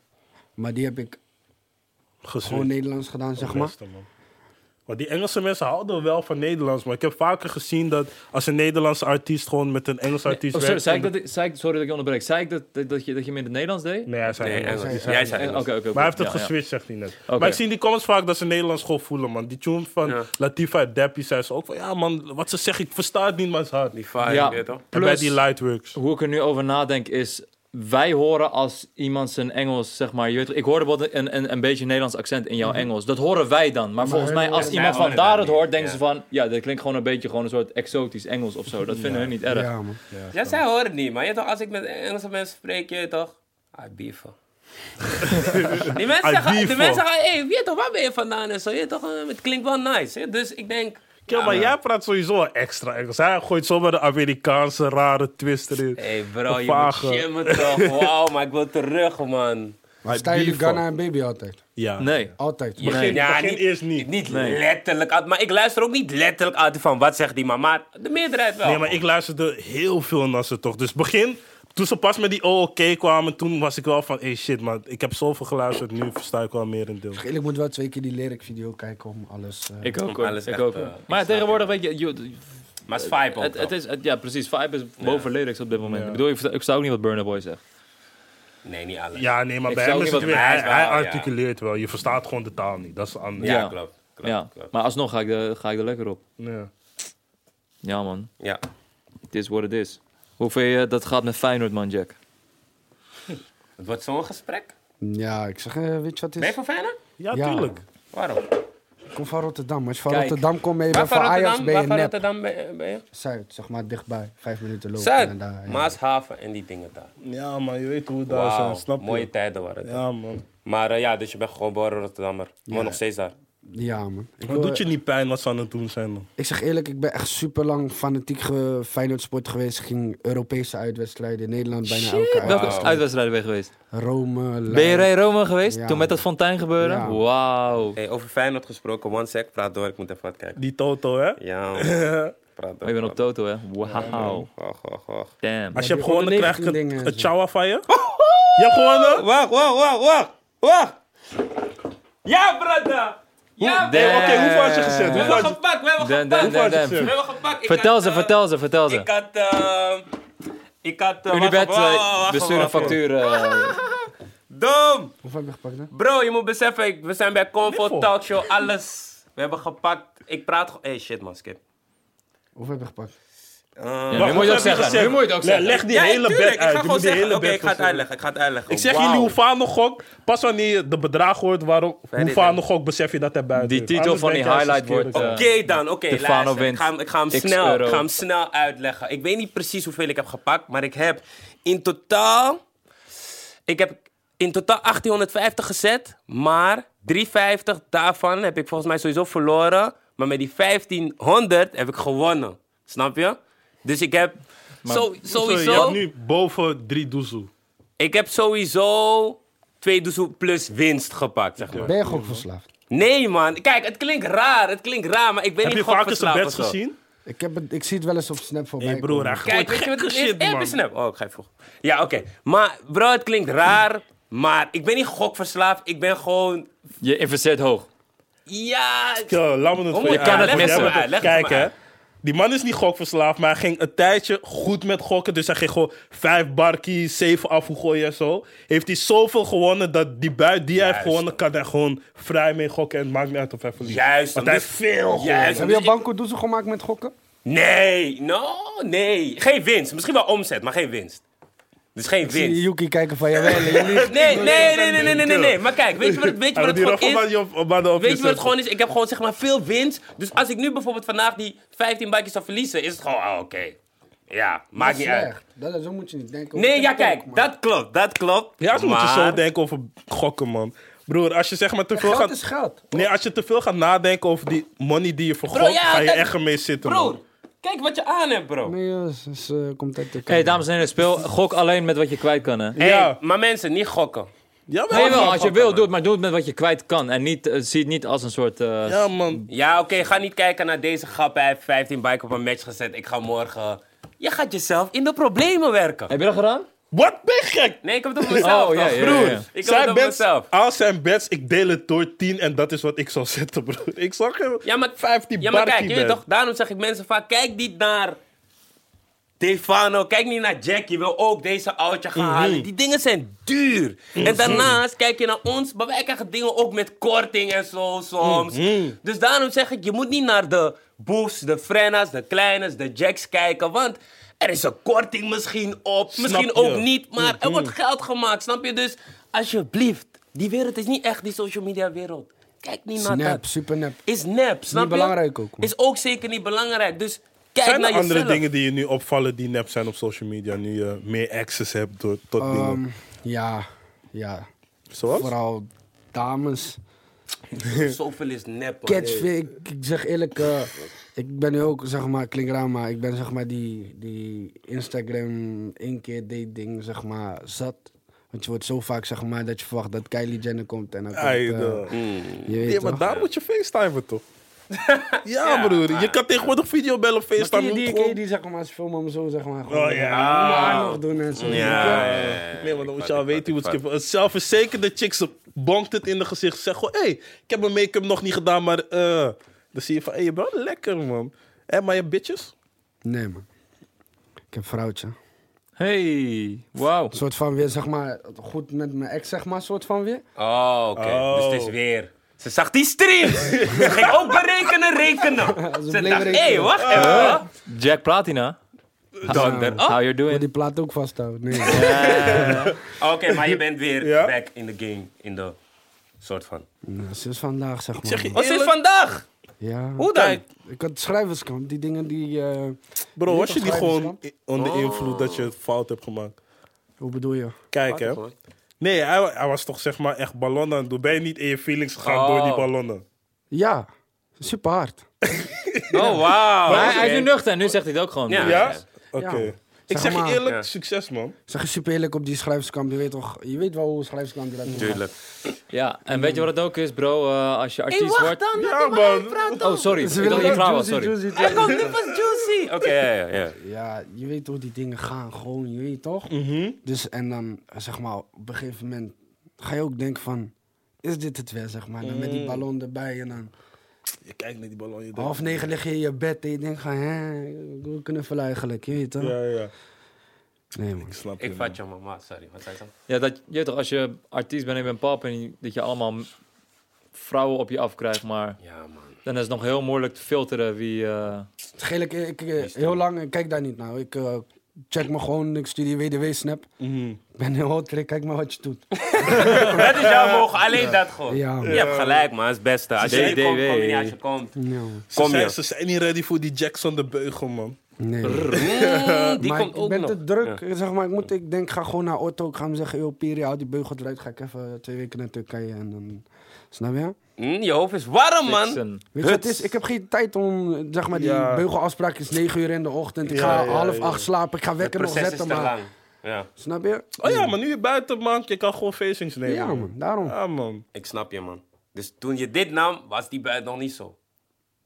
Maar die heb ik Gezien. gewoon Nederlands gedaan, zeg maar. Beste, man. Maar die Engelse mensen houden wel van Nederlands. Maar ik heb vaker gezien dat als een Nederlandse artiest gewoon met een Engelse artiest Oh, sorry, werkt... zei ik dat ik, zei ik, sorry dat ik je onderbreek. Zei ik dat, dat, dat je, dat je me in het Nederlands deed? Nee, hij zei Nee, Engels. Engels. Die Jij Engels. zei Eh, Oké, Engels. oké. oké. Maar hij heeft het Ja, ja. geswitcht, zegt hij net. Oké. Maar ik zie in die comments vaak dat ze Nederlands gewoon voelen, man. Die tune van Ja. Latifa en Deppie zei ze ook van... Ja, man, wat ze zeggen, ik versta het niet, maar het is hard. Die vibe, Ja. weet je toch? En bij Plus- die Lightworks. hoe ik er nu over nadenk is... Wij horen als iemand zijn Engels, zeg maar... Je weet, toch, ik hoorde bijvoorbeeld een, een, een beetje Nederlands accent in Mhm. jouw Engels. Dat horen wij dan. Maar, volgens mij, als wij iemand van horen dat daar het niet, hoort, denken ja. ze van... Ja, dat klinkt gewoon een beetje gewoon een soort exotisch Engels of zo. Dat vinden hun niet erg. Ja, man. Ja, zij horen het niet, maar je weet toch, als ik met Engelse mensen spreek, je weet toch? I beefen. die Ah, mensen I zeggen, de beefen. mensen zeggen, hey, weet toch, waar ben je vandaan en zo? Je weet toch, eh, het klinkt wel nice. hè? Dus ik denk, Ja, maar jij praat sowieso wel extra Engels. Hij gooit zomaar de Amerikaanse rare twist erin. hey bro, je moet Vage. shimmen toch? Wauw, maar ik wil terug, man. Sta je beef, Ghana en baby altijd? Ja. Nee. Altijd. Je Maar begint- begin eerst niet. Niet Nee. letterlijk uit, maar ik luister ook niet letterlijk uit van wat zegt die man, maar de meerderheid wel. Nee, maar ik luisterde heel veel naar ze toch. Dus begin, toen ze pas met die OOK kwamen, toen was ik wel van... hey, shit, man, ik heb zoveel geluisterd. Nu versta ik wel meer een deel. Ik moet wel twee keer die lyric video kijken om alles... eh, Ik ook, hoor. hoor. Alles ik echt, ook eh, hoor. Maar ja, tegenwoordig weet je... je- maar het is vibe ook. het, het toch? is, het- ja, precies. Vibe is boven lyrics op dit moment. Ja. Ik bedoel, ik, versta- ik sta ook niet wat Burner Boy zegt. Nee, niet alles. Ja, Ja, nee, maar Ik bij zou hem ook is niet het wat- weer... hij is Hij, hij wel, ja. articuleert wel. Je verstaat gewoon de taal niet. Dat is anders. Ja. klopt. klopt, ja. klopt. Maar alsnog ga ik, er- ga ik er lekker op. Ja. Ja, man. Ja. Het is what it is. Hoe vind je dat gaat met Feyenoord, man, Jack? Het wordt zo'n gesprek. Ja, ik zeg, eh, weet je wat het Ben je is? van Feyenoord? Ja, Ja. tuurlijk. Waarom? Ik kom van Rotterdam. Als je van Kijk. Rotterdam komt, ben je Waar wel van van Ajax, Rotterdam, ben waar je van nep. Rotterdam ben, ben je? Zuid, zeg maar, dichtbij. Vijf minuten lopen. Zuid, en eh, daar, ja. Maashaven en die dingen daar. Ja. man, je weet hoe het daar Wauw, is. Snap je? mooie tijden waren het. Ja, man. Maar eh, ja, dus je bent gewoon geboren Rotterdammer. Je woont nog steeds daar. Ja, man. Ik, Maar wil- doet je niet pijn wat ze aan het doen zijn dan? ik zeg eerlijk, ik ben echt super lang fanatiek ge- Feyenoord sport geweest. Ik ging Europese uitwedstrijden in Nederland bijna elke Welke uitwedstrijd. uitwedstrijden ben je geweest? Rome, Ben je Leiden. bij Rome geweest? Ja, Toen met dat fontein gebeuren? Ja. Wauw. Hey, over Feyenoord gesproken, one sec, praat door, ik moet even wat kijken. Die Toto, hè? Ja, man. praat door. Oh, je bent op Toto, hè? Wauw. Wacht, wacht, wacht. Damn. Als je die hebt gewonnen, krijg ik 119 een, dingen een en zo. chawa van je. Je hebt gewonnen? Wacht, wacht, wacht, wacht. Wacht. Ja, brada. Ja, Hoe- brada. Hey, Oké, hoeveel had je gezet? We Hoeveel hebben had je- gepakt, we hebben Damn, gepakt. damn, damn, was het, damn. sir? We hebben gepakt. Ik Vertel had, ze, eh, vertel ze, vertel ze. Ik had... eh, ik had... eh, Unibet, wacht, wacht, eh, wacht, bestuur een wacht, wacht. factuur. eh, Dom. Hoeveel heb je gepakt, hè? Bro, je moet beseffen, ik- we zijn bij Comfort Niffel. Talkshow, alles. We hebben gepakt. Ik praat gewoon. Hey, shit, man, skip. Hoeveel heb je gepakt? Eh, Ja, nu moet je het ook heb je zeggen. gezegd? Nu moet je het ook Nee, zeggen. Leg die ja, hele tuurlijk, bed ik uit. ga Je moet gewoon die zeggen. Oké, hele bed ik ga het gewoon zeggen. uitleggen. Ik ga het uitleggen. Ik zeg Wauw. jullie Hoefano gok. Pas wanneer je de bedrag hoort waarom dit, Hoefano gok, besef je dat hij buiten Die is. titel Anders van denk die je als een highlight kerel. wordt, Oké eh, dan, oké. De luister, Fano wint Ik ga, hem- ik ga hem X snel, euro. ik ga hem snel uitleggen. Ik weet niet precies hoeveel ik heb gepakt, maar ik heb in totaal... Ik heb in totaal 1850 gezet, maar 350 daarvan heb ik volgens mij sowieso verloren. Maar met die 1500 heb ik gewonnen. Snap je? Dus ik heb zo- Sorry, sowieso... Je hebt nu boven drie doezel. Ik heb sowieso twee doezoe plus winst gepakt, zeg maar. Ben je ook verslaafd? Nee, man. Kijk, het klinkt raar. Het klinkt raar, maar ik ben Heb je niet vaker zijn gokverslaafd bed of zo. gezien? Ik, heb het, ik zie het wel eens op Snap voorbij Hé broer, hij komen. gooit Kijk, weet je wat het gekke is? shit, Eh, man. snap. Oh, ik ga even vroeg. Ja, oké. Maar bro, het klinkt raar. Maar ik ben niet gokverslaafd. Ik ben gewoon... Je investeert hoog. Ja... Yo, eh, laat me het voor moet- Je kan het uitleggen. missen. Jij bent Ja, een- leg het Kijk maar hè. uit. Die man is niet gokverslaafd, maar hij ging een tijdje goed met gokken. Dus hij ging gewoon vijf barkie, zeven afgooien en zo. Heeft hij zoveel gewonnen dat die buit die hij heeft Juist. gewonnen, kan hij gewoon vrij mee gokken. En het maakt niet uit of hij verliest. Juist, Want dan hij is- heeft veel gewonnen. Juist. Heb je al Banco Doezel gemaakt met gokken? Nee, no, nee. Geen winst. Misschien wel omzet, maar geen winst. Dus geen Zie je winst. Yuki kijken van, jawel, jullie... Nee, nee, nee, nee, nee, nee, nee, nee. Maar kijk, weet je wat, weet je Hij wat had het die gewoon nog is? maar die op- op- maar de op- Weet je wat het gewoon is? Ik heb gewoon zeg maar veel winst. Dus als ik nu bijvoorbeeld vandaag die 15 bakjes zou verliezen, is het gewoon, ah, oké. Ja, maakt niet uit. Dat, is- zo moet je niet denken. Nee, Ik ja, heb het ook, kijk, man. dat klopt, dat klopt. Ja, ze moeten maar- zo denken over gokken, man. Broer, als je zeg maar te veel Geld gaat... is geld. Nee, als je te veel gaat nadenken over die money die je vergokt, ja, ga je dat- echt ermee zitten, man. Broer, kijk wat je aan hebt, bro. Nee, joh, eh, ze- ze komt uit de Hé, hey, dames en heren, speel gok alleen met wat je kwijt kan, hè? Hey, Ja. Maar mensen, niet gokken. Jawel, Nee, wel, man. als je wil, doe het, maar doe het met wat je kwijt kan. En niet, eh, zie het niet als een soort... eh, Ja, man. Ja, oké, ga niet kijken naar deze grap. Hij heeft 15 bike op een match gezet. Ik ga morgen... Je gaat jezelf in de problemen werken. Heb je dat gedaan? Wat ben je gek? Nee, ik heb het op mezelf. Oh, ja, toch, ja, ja. broer. Zijn Ik heb het Zijn op bets, mezelf. al zijn bets, ik deel het door 10 en dat is wat ik zal zetten, broer. Ik zag hem Ja, maar, 15 ja, maar kijk, je barkie weet ben. toch, daarom zeg ik mensen vaak, kijk niet naar Stefano, kijk niet naar Jack, je wil ook deze oudje Mhm. gaan halen. Die dingen zijn duur. En daarnaast kijk je naar ons, maar wij krijgen dingen ook met korting en zo soms. Mhm. Dus daarom zeg ik, je moet niet naar de Boefs, de Frenna's, de Kleines, de Jacks kijken, want... Er is een korting misschien op, misschien je. Mhm. ook niet, maar er wordt geld gemaakt, snap je? Dus alsjeblieft, die wereld is niet echt die social media wereld. Kijk niet naar dat Snap, super nep. is nep, snap je? belangrijk ook, man. Is ook zeker niet belangrijk. Dus kijk Zijn naar er andere jezelf. dingen die je nu opvallen die nep zijn op social media, nu je meer access hebt door, tot Ehm, dingen? ja, ja. Zoals? Vooral dames. Zoveel is nep. man. Catch, ik, ik zeg eerlijk, eh, ik ben nu ook, zeg maar, klinkt raar, maar ik ben zeg maar die, die Instagram één keer date ding, zeg maar, zat. Want je wordt zo vaak, zeg maar, dat je verwacht dat Kylie Jenner komt en dan komt, Ai, eh, de- Mm. je weet Ja, maar toch? eh. daar moet je facetimen, toch? ja, broer. Je kan tegenwoordig videobellen of Maar ken facetimen. je die, gewoon- ken je die, zeg maar, ze filmen hem zo, zeg maar, gewoon. Oh, ja. Mijn haar nog doen en zo. Ja, ja, ja, ja. Nee, want dan Ik moet vat, je al ik vat, weten hoe ik vat. het skippen. Een zelfverzekerde chick, ze bonkt het in de gezicht. Ze zegt gewoon, hé, hey, ik heb mijn make-up nog niet gedaan, maar... eh dan zie je van, hé, je bent wel lekker, man. Hé, maar je bitches? Nee, man. Ik heb vrouwtje. Een Hey, wauw. soort van weer, zeg maar, goed met mijn ex, zeg maar, soort van weer. Oh, oké. Oh. Dus het is weer... Ze zag die stream. ze ging ook berekenen, rekenen. Ze, bleef dacht, hé, rekenen. hey, Ah. wacht even. Jack Platina. Dan, dan. How you Wil doing? die plaat ook vasthouden? Nee. Oh, Oké, maar je bent weer Ja. back in the game. In de soort van... Nou, sinds vandaag, zeg maar. zeg je- Wat is Eerlijk? vandaag? Ja. Hoe dan? Kijk. Ik had schrijverskamp, die dingen die... eh, Bro, was je toch die gewoon schrijvers, i- onder Oh. invloed dat je het fout hebt gemaakt? hoe bedoel je? Kijk, hè. Nee, hij, wa- hij was toch zeg maar echt ballonnen aan het doen. Ben je niet in je feelings gegaan Oh. door die ballonnen? Ja, super hard. Oh, wauw. Maar hij, hij is nu Oké. nuchter, nu zegt hij het ook gewoon. Ja. Ja? Oké. Ja. Ik Zeg zeg maar. je eerlijk, Ja. succes, man. Zeg je super eerlijk op die schrijverskamp, je weet toch... Je weet wel hoe schrijverskamp dat is. Tuurlijk. Ja, en weet je wat het ook is, bro? Eh, als je artiest wordt... dan. Ja, man. Oh, sorry. Ze willen Ik dacht dat je ook klaar was, juicy, sorry. juicy Hij doen. komt, dit was juicy. Oké, ja, ja, ja. Ja, je weet hoe die dingen gaan, gewoon, je weet toch? Dus en dan, eh, zeg maar, op een gegeven moment ga je ook denken van... Is dit het weer, zeg maar? Dan met die ballon erbij en dan... Je kijkt naar die ballon, je denkt... Half negen lig je in je bed en je denkt van... Hè, we kunnen veel eigenlijk, je weet toch? Ja, ja. Nee, man. Ik snap je. Ik man. vat je mama, sorry. Wat zei ze? Ja, dat, je weet toch, als je artiest bent en je bent pap en je- dat je allemaal m- vrouwen op je afkrijgt, maar Ja, man. dan is het nog heel moeilijk te filteren wie... eh, Geel, ik, ik, eh, heel lang, ik kijk daar niet naar. Ik eh, check me gewoon, ik studie WDW-snap. Mhm. Ik ben heel hot, Rick, kijk maar wat je doet. Dat is jouw mogen, alleen dat gewoon. Ja, man. Je hebt gelijk, man. Het is het beste. Als je DDW. komt, kom je niet. Als je komt. Ja, man. Ze, Kom zijn, je. ze zijn niet ready voor die Jackson de Beugel, man. Nee. Mm, die maar komt ik ook ben nog. te druk, zeg maar. Ik, moet, ik denk, ga gewoon naar Otto. Ik ga hem zeggen, yo, Piri, hou die beugel eruit. Ga ik even twee weken naar Turkije en dan... Snap je? Mm, je hoofd is warm, man. Jackson. Weet je wat het is? Ik heb geen tijd om, eh, zeg maar, die Ja. beugelafspraak is 9 uur in de ochtend. Ik Ja, ga ja, half ja. acht slapen. Ik ga Het wekker nog proces is zetten, te maar... lang. Ja, Snap je? Oh ja, maar nu je buiten, man. Je kan gewoon facings nemen. Ja, man. Daarom. Ja, man. ik snap je, man. Dus toen je dit nam, was die buiten nog niet zo.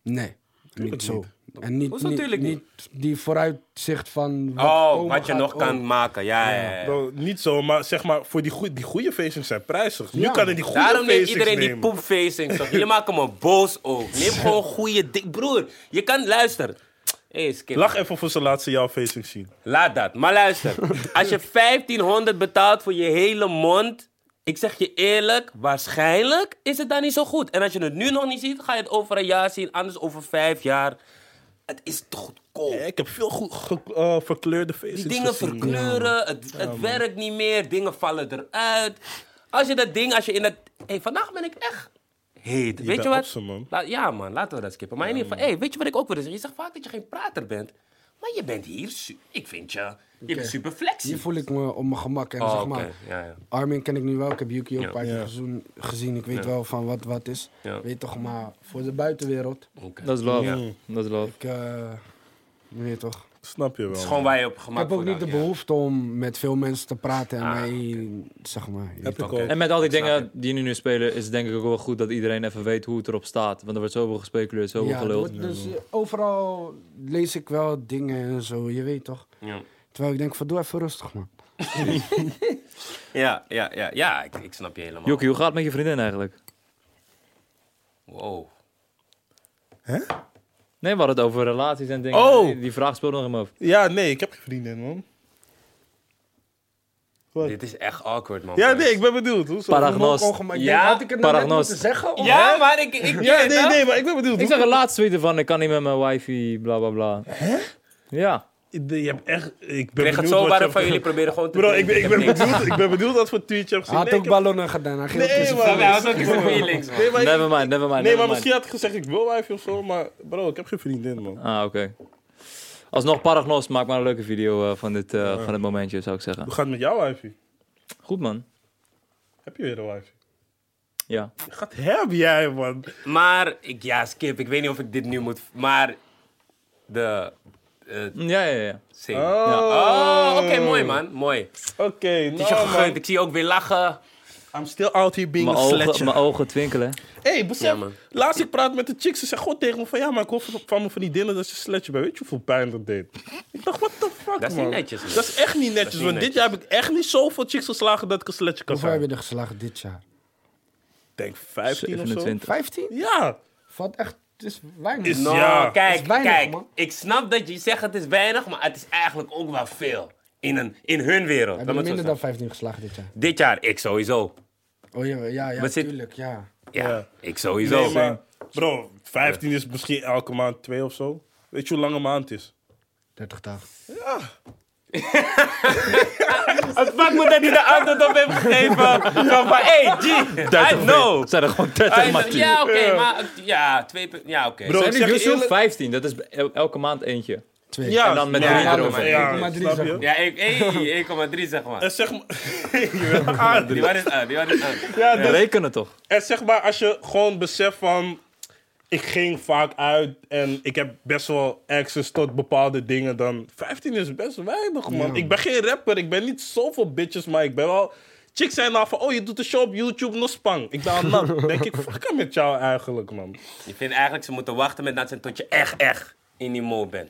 Nee, niet zo. En niet, Hoezo niet, tuurlijk niet die vooruitzicht van... Wat Oh, komen wat je gaat nog ook. kan maken. Ja, ja, ja. Nou, niet zo, maar zeg maar, voor die, goe- die goede facings zijn prijzig. Nu Ja. kan hij die goede Daarom neemt facings iedereen die nemen. poepfacing. toch? Jullie maken me boos ook. Neem gewoon goede dik broer. Je kan luisteren. Hé, skip. Lach even voor zijn laatste jouw facings zien. Laat dat. Maar luister, als je 1500 betaalt voor je hele mond. Ik zeg je eerlijk, waarschijnlijk is het dan niet zo goed. En als je het nu nog niet ziet, ga je het over een jaar zien, anders over vijf jaar. Het is te goedkoop. Ja, ik heb veel goed ge- eh, verkleurde facings Die dingen gezien. verkleuren, het, het werkt niet meer, dingen vallen eruit. Als je dat ding, als je in dat. Hé, vandaag ben ik echt heet. weet bent je wat? op z'n man. La- ja, man, laten we dat skippen. Maar in ieder geval, hé, weet je wat ik ook wil zeggen? Je zegt vaak dat je geen prater bent, maar je bent hier. su- Ik vind je. Je bent super flexie. Hier voel ik me op mijn gemak. En Oh, zeg oké. maar, Ja, ja. Armin ken ik nu wel. Ik heb Yuki ook een paar keer Ja. gezoen- gezien. Ik weet wel van wat wat is. Ja. Weet toch maar, voor de buitenwereld. Oké. Dat is love. Ja. Dat is love. Ik, eh, weet toch. Snap je wel. Het is gewoon waar je op Ik gemak heb ook voor Ah, niet de houdt, behoefte om met veel mensen te praten en mij, zeg maar. Heb ik Oké. ook. En met al die dingen die nu nu spelen, is het denk ik ook wel goed dat iedereen even weet hoe het erop staat. Want er wordt zoveel gespeculeerd, zoveel Ja, geluld. wordt dus eh, overal lees ik wel dingen en zo, je weet toch. ja. Ja. Terwijl ik denk van, doe even rustig man. Ja, ja, ja, ja, ik, ik snap je helemaal. Jokie, hoe gaat het met je vriendin eigenlijk? Wow. Nee, we hadden het over relaties en dingen. Oh! Die, die vraag speelde nog hem over. Ja, nee, ik heb geen vriendin, man. Wat? Dit is echt awkward, man. Ja, nee, ik ben bedoeld. Hoezo? Paragnost. Ja, had ik het nou net paragnost. moeten zeggen? Of Ja, maar ik... ik Ja, nee, nee, maar ik ben bedoeld. Ik zag een laatste tweet ervan, ik kan niet met mijn wifey, bla bla bla. Hè? Ja. Je hebt echt... Ik ben Ik kreeg het benieuwd zo wat je waar hebt van jullie gedaan. proberen gewoon te Bro, ik ben, ik, ben heb niks. bedoeld, ik ben bedoeld wat voor tweet je hebt Hij gezien. had Nee, ook ik heb- ballonnen gedaan. Hij ging Nee, op tussen- man. Ja, dat is ook voor je links, man. Nee, maar, ik- Never mind, never mind. nee, never maar mind. misschien had ik gezegd ik wil wijfje of zo, maar bro, ik heb geen vriendin, man. Ah, oké. Alsnog Paragnos, maak maar een leuke video eh, van, dit, eh, van dit momentje, zou ik zeggen. Hoe gaat het met jouw wijfje? Goed, man. Heb je weer een wijfje? Ja. Wat heb jij, man? Maar, ik, ja, skip. Ik weet niet of ik dit nu moet... Maar, de... eh Mm, Ja, ja, ja. zing. Oh, Oh, oké, mooi, man. Mooi. Oké, Het is je nou, gegund. man. Ik zie je ook weer lachen. I'm still out here being Mijn a ogen, mijn sledger. ogen twinkelen. hey, besef, Ja, man. laatst ik praat met de chick, ze zegt gewoon tegen me van... Ja, maar ik hoor van van mijn vriendinnen dat ze sledger bent. Weet je hoeveel pijn dat deed? Ik dacht, what the fuck, man? Dat is niet netjes, man. Dat is echt niet netjes, niet want dit netjes. jaar heb ik echt niet zoveel chicks geslagen dat ik een sledger kan Hoeveel zijn. heb Ik je er geslagen dit jaar? denk 15 of zo. 27. 15? Ja. Valt echt... Het is weinig. Is- Nou, Ja. kijk, Dat is weinig, kijk. man. Ik snap dat je zegt het is weinig, maar het is eigenlijk ook wel veel. In, een, in hun wereld. Laat Heb je me het zo minder dan zeggen. 15 geslagen dit jaar? Dit jaar, ik sowieso. Oh ja, ja, ja, Wat zit- tuurlijk, ja. Ja, Ja. ik sowieso. Nee, maar, bro, 15 is misschien elke maand 2 of zo. Weet je hoe lang een maand is? 30 dagen. Het maakt me dat hij de antwoord op heeft gegeven. Zo van, hey, G, I know. Het zijn er gewoon I 30, know. Martin. Ja, oké, maar... Ja, twee punt- Ja, oké. Bro, Zijn ik zeg jullie je Yusuf? eerlijk- 15, dat is el- elke maand eentje. Twee. Ja, En dan met ja, drie ja, eroverheen. Ja, 1,3 snap zeg je? maar. Ja, ik- hey, 1,3 zeg En maar. zeg maar... Je bent aardig. Die waren het aan, die waren het aan. Ja, dus- Rekenen toch? Ah, En zeg maar, als je gewoon beseft van... Ik ging vaak uit en ik heb best wel access tot bepaalde dingen. Dan 15 is best weinig, man. Ik ben geen rapper, ik ben niet zoveel bitches, maar ik ben wel... Chicks zijn nou van, oh, je doet een show op YouTube, nog spang. Ik ben al nat. denk ik, fuck hem met jou eigenlijk, man. Je vindt eigenlijk, ze moeten wachten met dat ze tot je echt, echt in die mode bent.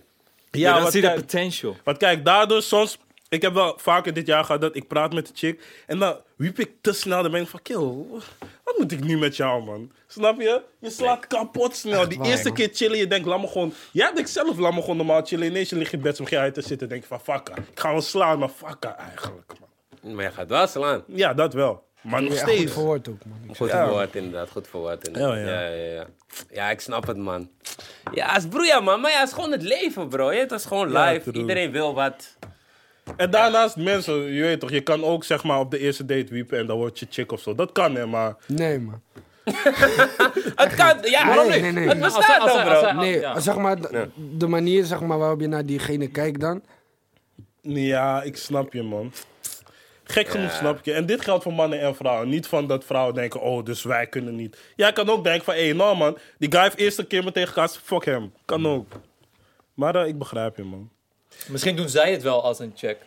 Ja, dan wat zie je de kijk- potential. Want kijk, daardoor soms... Ik heb wel vaker dit jaar gehad dat ik praat met de chick... en dan wiep ik te snel de mening van... Kill, wat moet ik nu met jou, man? Snap je? Je slaat kapot snel. Die waar, eerste man. keer chillen, je denkt, laat me gewoon... Jij denkt zelf, laat me gewoon normaal chillen. Ineens je ligt in bed, zo ga je uit te zitten. denk je van, fuck her. Ik ga wel slaan, maar fuck her eigenlijk, man. Maar je gaat wel slaan. Ja, dat wel. Maar nog Ja, goed steeds. verwoord ook, man. Goed verwoord, inderdaad. Goed verwoord, inderdaad. Ja, Ja, ja. ja, ja. ja. ik snap het, man. Ja, is broeia, man. Maar ja, het is gewoon het leven, bro. Je, het is gewoon Ja, live. true. Iedereen wil wat. En daarnaast, mensen, je weet toch... je kan ook, zeg maar, op de eerste date wiepen... en dan word je chick of zo. Dat kan, hè, maar... Nee, man. Het kan, ja, Waarom nee, niet? nee, nee. Als het hij- als hij- bestaat dan, als hij- bro. als hij- Nee, ja. zeg maar, de, de manier zeg maar, waarop je naar diegene kijkt dan. Ja, ik snap je, man. Gek genoeg snap ik je. En dit geldt voor mannen en vrouwen. Niet van dat vrouwen denken, oh, dus wij kunnen niet. Jij kan ook denken van, hé, hey, nou man, die guy heeft eerste keer me tegengehaald, fuck hem. Kan ook. Maar eh, ik begrijp je, man. Misschien doen zij het wel als een check.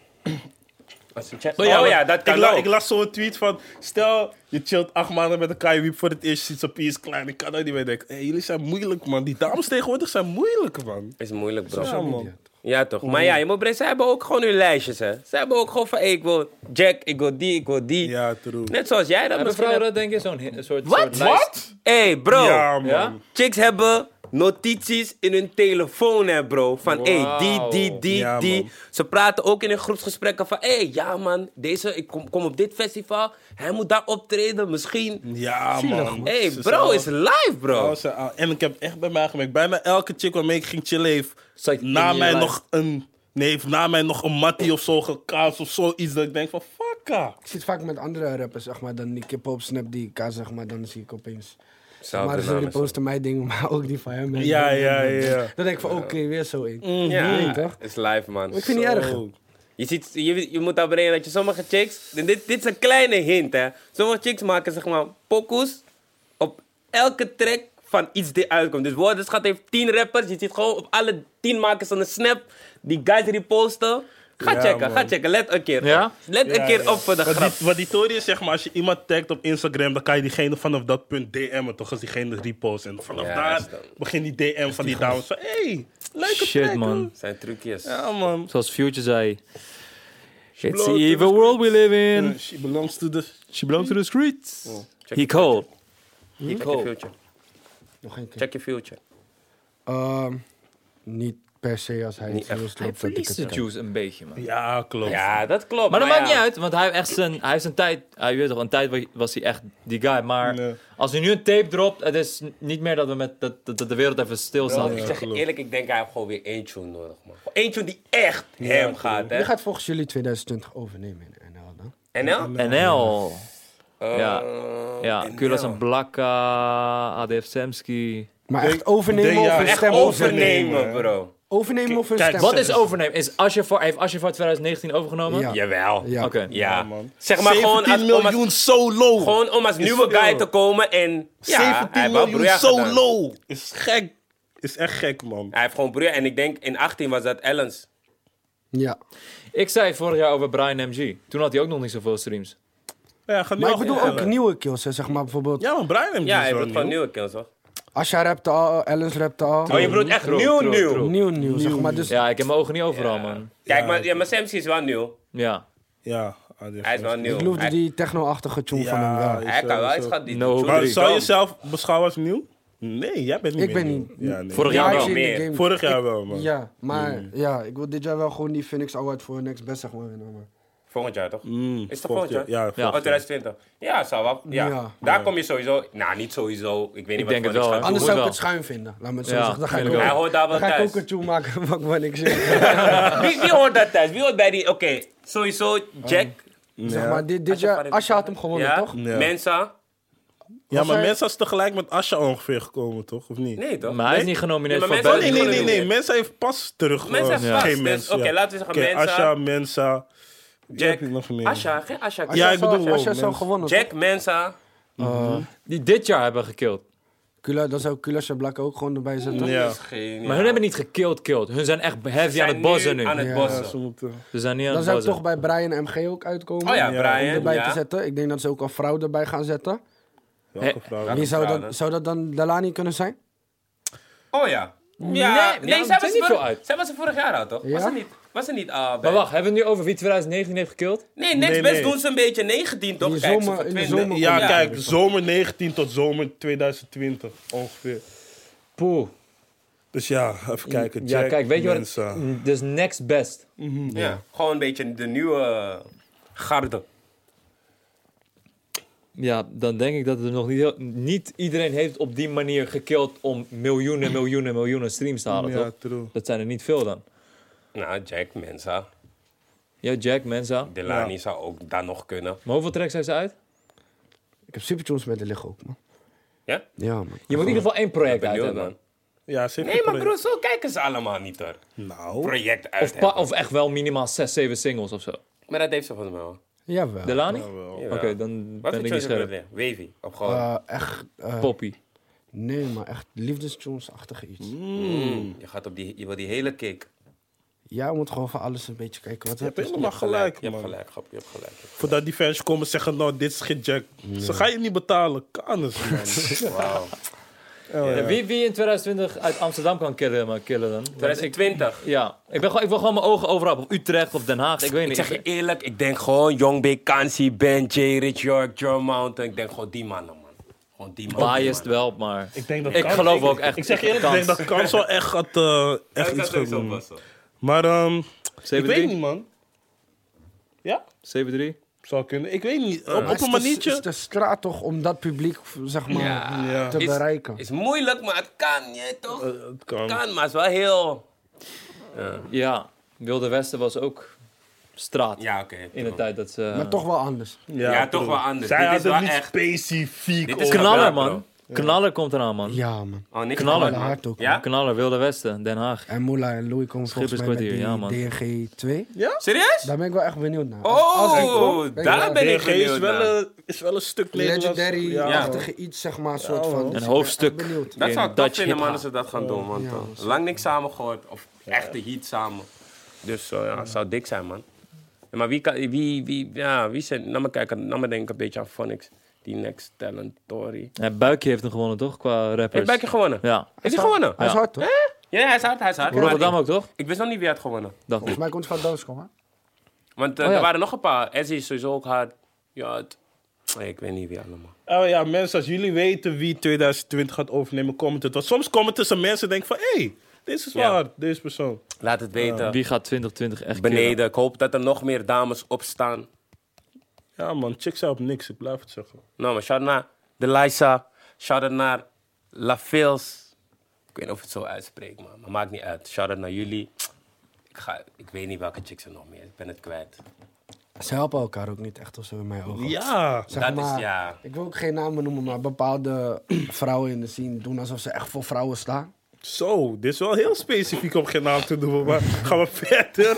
Oh ja, dat kan ik, la- ook. ik las zo'n tweet van, stel, je chillt acht maanden met elkaar, je wiep voor het eerst, je ziet zijn pies klein. Ik kan dat niet meer denken. Hé, jullie zijn moeilijk, man. Die dames tegenwoordig zijn moeilijk, man. Is moeilijk, bro. Ja, man. Ja, toch. Maar ja, je moet bre- zij hebben ook gewoon hun lijstjes, hè. Zij hebben ook gewoon van, hey, ik wil Jack, ik wil die, ik wil die. Ja, true. Net zoals jij dat Hebben misschien vrouwen hebt. dat denk je? Zo'n hi- een soort soort Wat? lijst? Hey, bro. Ja, man. Ja? Chicks hebben notities in hun telefoon, hè, bro. Van, hé, hey, die, Wauw. die, die, Ja, die. man. Ze praten ook in hun groepsgesprekken van... hé, hey, ja, man, deze, ik kom, kom op dit festival. Hij moet daar optreden, misschien. Ja, man. Hé, hey, Ze bro, zijn- is live, bro. Oh, ze- ah, en ik heb echt bij mij gemerkt, bijna elke chick waarmee ik ging chillen heeft Zat in na je mij lijf. nog een, nee, heeft na mij nog een mattie of zo gekaas of zoiets. Dat ik denk van, fuck ah. Ik zit vaak met andere rappers, zeg maar, dan die kippen op snap die elkaar, zeg maar, dan zie ik opeens. Zou maar de ze naam die eens- posten mij dingen, maar ook die van hem. en Ja, dan- ja, ja. Dan denk ik van, oké, weer zo één. Ja, Nee, toch? is live, man. Ik vind het niet erg. Zo. Je, ziet, je, je moet daar beneden dat je sommige chicks... en Dit, dit is een kleine hint, hè. Sommige chicks maken, zeg maar, pokoes op elke track van iets die uitkomt. Dus Woordenschat heeft tien rappers. Je ziet gewoon op alle tien maken ze een snap. Die guys reposten. Ga Ja, checken, man. ga checken. Let een keer Ja? op. Let Ja, een keer ja. op voor de Wat grap. die, wat die theorie is, zeg maar, als je iemand tagt op Instagram, dan kan je diegene vanaf dat punt DM'en, toch? Als diegene repost. En vanaf Ja, is daar dat. begint die DM van die dames van, hey, leuke Shit, plek, man. hoor. zijn trucjes. Ja, man. Zoals Future zei. It's the evil world we live in. Yeah, she belongs to the... She belongs to the streets. Check He it. cold. Check your future. Nog één keer. Check your future. Ehm, niet per se als hij Niet het heel echt. sloopt dat ik het kijk. juice een beetje, man. Ja, klopt. Ja, dat klopt. Maar dat maakt ja. niet uit, want hij heeft echt zijn, hij heeft zijn tijd. Hij weet toch, een tijd wa- was hij echt die guy. Maar Nee. als hij nu een tape dropt, het is n- niet meer dat, we met, dat, dat, dat de wereld even stilstaat. Ik Ja, zeg je klopt. eerlijk, ik denk hij heeft gewoon weer één tune nodig, man. Gewoon Één tune die echt hem gaat, hè. Wie gaat volgens jullie 2020 overnemen in NL dan? NL? NL. Eh, Ja. Ja, NL. Kulas en Blakka, ADF Semski. Maar echt overnemen denk, of ja, een Echt stem overnemen? overnemen, bro. Overnemen of een Kijk, stem? Wat is overnemen? Is Ashafar, heeft Ashafar 2019 overgenomen? Ja. Jawel. Ja. Oké. Ja. man. Zeg maar gewoon als, 17 om als, miljoen zo low. gewoon om als Is nieuwe veel. guy te komen en... Ja, hij 17 heeft wel miljoen broer zo gedaan. low. Is gek. Is echt gek, man. Hij heeft gewoon broer. En ik denk in 18 was dat Ellens. Ja. Ik zei vorig jaar over Brian MG. Toen had hij ook nog niet zoveel streams. Ja, gaat nu Maar ik al bedoel goed ook tellen. nieuwe kills, hè, zeg maar bijvoorbeeld. Ja, maar Brian MG Ja, hij is wel wordt gewoon nieuw. nieuwe kills, toch? Asha rapte al, Ellis rapte al. Oh, je bedoelt echt True, nieuw, true, nieuw. true. Nieuw, nieuw, zeg maar. Dus Ja, ik heb mijn ogen niet overal, man. Kijk, maar, ja, maar Samsi is wel nieuw. Ja. Ja, ah, Hij die is heeft- wel nieuw. ik loefde Hij- die techno-achtige tune van hem Ja, wel. ja. Hij kan wel, hij Zo, gaat die No die- hope. Maar Drie. zou je Kan. jezelf beschouwen als nieuw? Nee, jij bent niet Ik meer ben nieuw. niet- Ja, nee. Vorig Ja, jaar ik wel. zie meer. de game. Vorig jaar wel, man. Ja, maar ja, ik wil dit jaar wel gewoon die Phoenix Award voor Next Best zeg maar winnen. Maar. Volgend jaar, toch? Mm, Is het volgend jaar? Ja, Oh, volgend jaar. 2020. Ja, zou wel. Ja. Ja. Daar kom je sowieso... Nou, niet sowieso. Ik weet niet wat denk het voor niks wel, gaat hè. doen. Anders moet zou ik wel. het schuin vinden. Laat me het zo Ja, zeggen. Dan ga ik, vind ook, ik Hij hoort daar wel dan ga ik thuis. ook een tune maken van wat ik zeg. wie, wie hoort daar thuis? Wie hoort bij die... Oké, sowieso Jack. zeg maar, dit, Oh. dit Asha jaar, Farid- Asha had hem gewonnen, ja, toch? Ja. Mensa. Ja, maar hij- mensen is tegelijk met Asha ongeveer gekomen, toch? Of niet? Nee, toch? Maar hij is niet genomineerd Ja, maar voor mensen- Oh, Best. nee, nee, nee, nee. Ja. Mensen heeft pas terug. Mensen heeft pas, Geen dus- mensen. oké, ja. laten we zeggen Oké, Mensa. Asha, Mensa. Wie Jack. heb ik nog meer? Asha. Geen Asha. Asha Ja, ik zou- bedoel Asha ook, zou mensen. gewonnen. Jack, Mensa. Die dit jaar hebben gekillt. toch? Kula, dan zou Kula Shablak ook gewoon erbij zetten. Ja, Geen, Maar hun hebben niet gekillt, killt. Hun zijn echt heavy Zijn aan het bossen nu. Aan het Ja. Ja, bossen. ze moeten... Ze zijn niet aan Dan het zou ik bossen. toch bij Brian MG ook uitkomen. Oh ja, Ja, Om Brian. erbij Ja. te zetten. Ik denk dat ze ook al vrouw erbij gaan zetten. Welke vrouw? Wie zou, vrouw, hè? dat, zou dat dan Dalani kunnen zijn? Oh ja. Ja, nee, nee, het zij, is was niet vor- veel uit. zij was er vorig jaar al, toch? Ja? Was ze niet? Was ze niet ah, bij- Maar wacht, hebben we het nu over wie 2019 heeft gekillt? Nee, next Nee, best nee. doen ze een beetje 19, toch? In de Kijk, ze zomer- in de vertwinnen. zomer- Ja, Ja. kijk, zomer 19 tot zomer 2020 ongeveer. Poeh. Dus ja, even kijken. Ja, Jack, kijk, weet je wat? het- Mensa. Mm, Dus next best. Ja. Gewoon een beetje de nieuwe eh, garde. Ja, dan denk ik dat er nog niet, heel, niet iedereen heeft op die manier gekillt om miljoenen, miljoenen, miljoenen streams te halen, Ja, toch? true. Dat zijn er niet veel dan. Nou, Jack, Mensa. Ja, Jack, Mensa. Delani zou ook daar nog kunnen. Maar hoeveel tracks heeft ze uit? Ik heb supertunes met de liggen ook, man. Ja? Ja, man. Je moet in ieder geval één project uit Benieuwd, hebben. man. Ja, ze heeft Nee, maar een bro, zo kijken ze allemaal niet, hoor. Nou, Project uit Of, pa- of echt wel minimaal 6, 7 singles of zo. Maar dat heeft ze volgens mij wel. Jawel. Delani? wel. Oké, dan Wat ben voor ik niet choice heb scherp. je? Wavy. Of gewoon... Eh, echt, eh, Poppy. nee, maar echt liefdestunes-achtig iets. Mm, Je, gaat op die, je wil die hele cake. Ja, we moeten gewoon van alles een beetje kijken. Wat je hebt heb je? helemaal gelijk, Je hebt man. gelijk, grap. Je hebt gelijk. Voordat die fans komen zeggen, nou, dit is geen Jack. Ze gaan je niet betalen. Kanus, man. Wauw. Ja, wie, wie in 2020 uit Amsterdam kan killen, maar killen dan? Want ik- 2020. Ja, ik, ben gewoon, ik wil gewoon mijn ogen overal op Utrecht of Den Haag. Ik weet Ik niet. zeg je eerlijk, ik denk gewoon Young Big Kansi, Ben J, Rich York, Joe Mountain. Ik denk gewoon die mannen, man. Gewoon die mannen. biased wel, maar Ik, denk dat ik Kans- geloof ook echt. Ik zeg eerlijk, ik denk dat Kans wel echt, gaat, eh, echt iets gaat doen. Maar ehm ik weet niet, man. Ja, CB3. zou kunnen. Ik weet niet. Op, Maar op het is een de- Het is maniertje. de straat toch om dat publiek, zeg maar, Ja. te Is- bereiken. Is moeilijk, maar het kan, je toch? Eh, het kan. kan, maar het is wel heel... Ja, Wilde Westen was ook straat. Ja, oké. In de tijd dat ze. maar toch wel anders. Ja, toch true. wel anders. Zij Dit is hadden wel niet echt- specifiek. Dit Dit is Knaller, Knallen, man. Knaller komt eraan, man. Ja, man. Oh, niks Knallen. van, man. Hard ook, Ja? Knaller, Wilde Westen, Den Haag. En Moela en Louis komen volgens mij met die Schipperskwartier, DNG 2. Serieus? Daar ben ik wel echt benieuwd naar. Als- als ik kom, Oh, ben ik wel daar ben ik DRG is benieuwd wel, naar. een, is wel een stuk Nederlands. legendary-achtige iets, zeg maar, soort van. Dus ik Een ben hoofdstuk. echt benieuwd. Dat in zou ik Dutch top vinden, man, hip-hop. als ze dat gaan doen. Want eh, lang niks samen gehoord. Of echte heat samen. Dus eh, ja, het zou dik zijn, man. Ja, maar wie, kan, wie, wie, ja, wie zijn... Nou, maar kijken, nou maar denk ik een beetje aan Phonics. Die next talent, Tory. Ja, Buikje heeft hem gewonnen, toch? Qua rappers. Heeft Buikje gewonnen? Ja. Heeft hij gewonnen? Hij is hard, toch? Ja, hij is hard, hij is hard. Maar Rotterdam ik- ook, toch? Ik wist nog niet wie hij had gewonnen. Dacht ik. Volgens mij komt hij van Doos komen. Want eh, Oh, ja. er waren nog een paar. Ezzy is sowieso ook hard. Ja, het- Nee, ik weet niet wie allemaal. Oh ja, mensen, als jullie weten wie 2020 gaat overnemen, comment het. Want soms komen tussen mensen en denken van... Hé, hey, deze is wel Ja. hard, deze persoon. Laat het weten. Wie gaat 2020 echt killen? Beneden. Ik hoop dat er nog meer dames opstaan. Ja man, chicks zijn op niks, ik blijf het zeggen. Nou, maar shout naar de Lysa. Shout naar Lafils. Ik weet niet of ik het zo uitspreek, man. Maar maakt niet uit. Shout naar jullie. Ik, ga, ik weet niet welke chicks er nog meer. Ik ben het kwijt. Ze helpen elkaar ook niet echt of zo in mijn ogen. Ja. Zeg Dat is- maar, ja. Ik wil ook geen namen noemen, maar bepaalde vrouwen in de scene doen alsof ze echt voor vrouwen staan. Zo, dit is wel heel specifiek om geen naam te noemen, maar gaan we verder.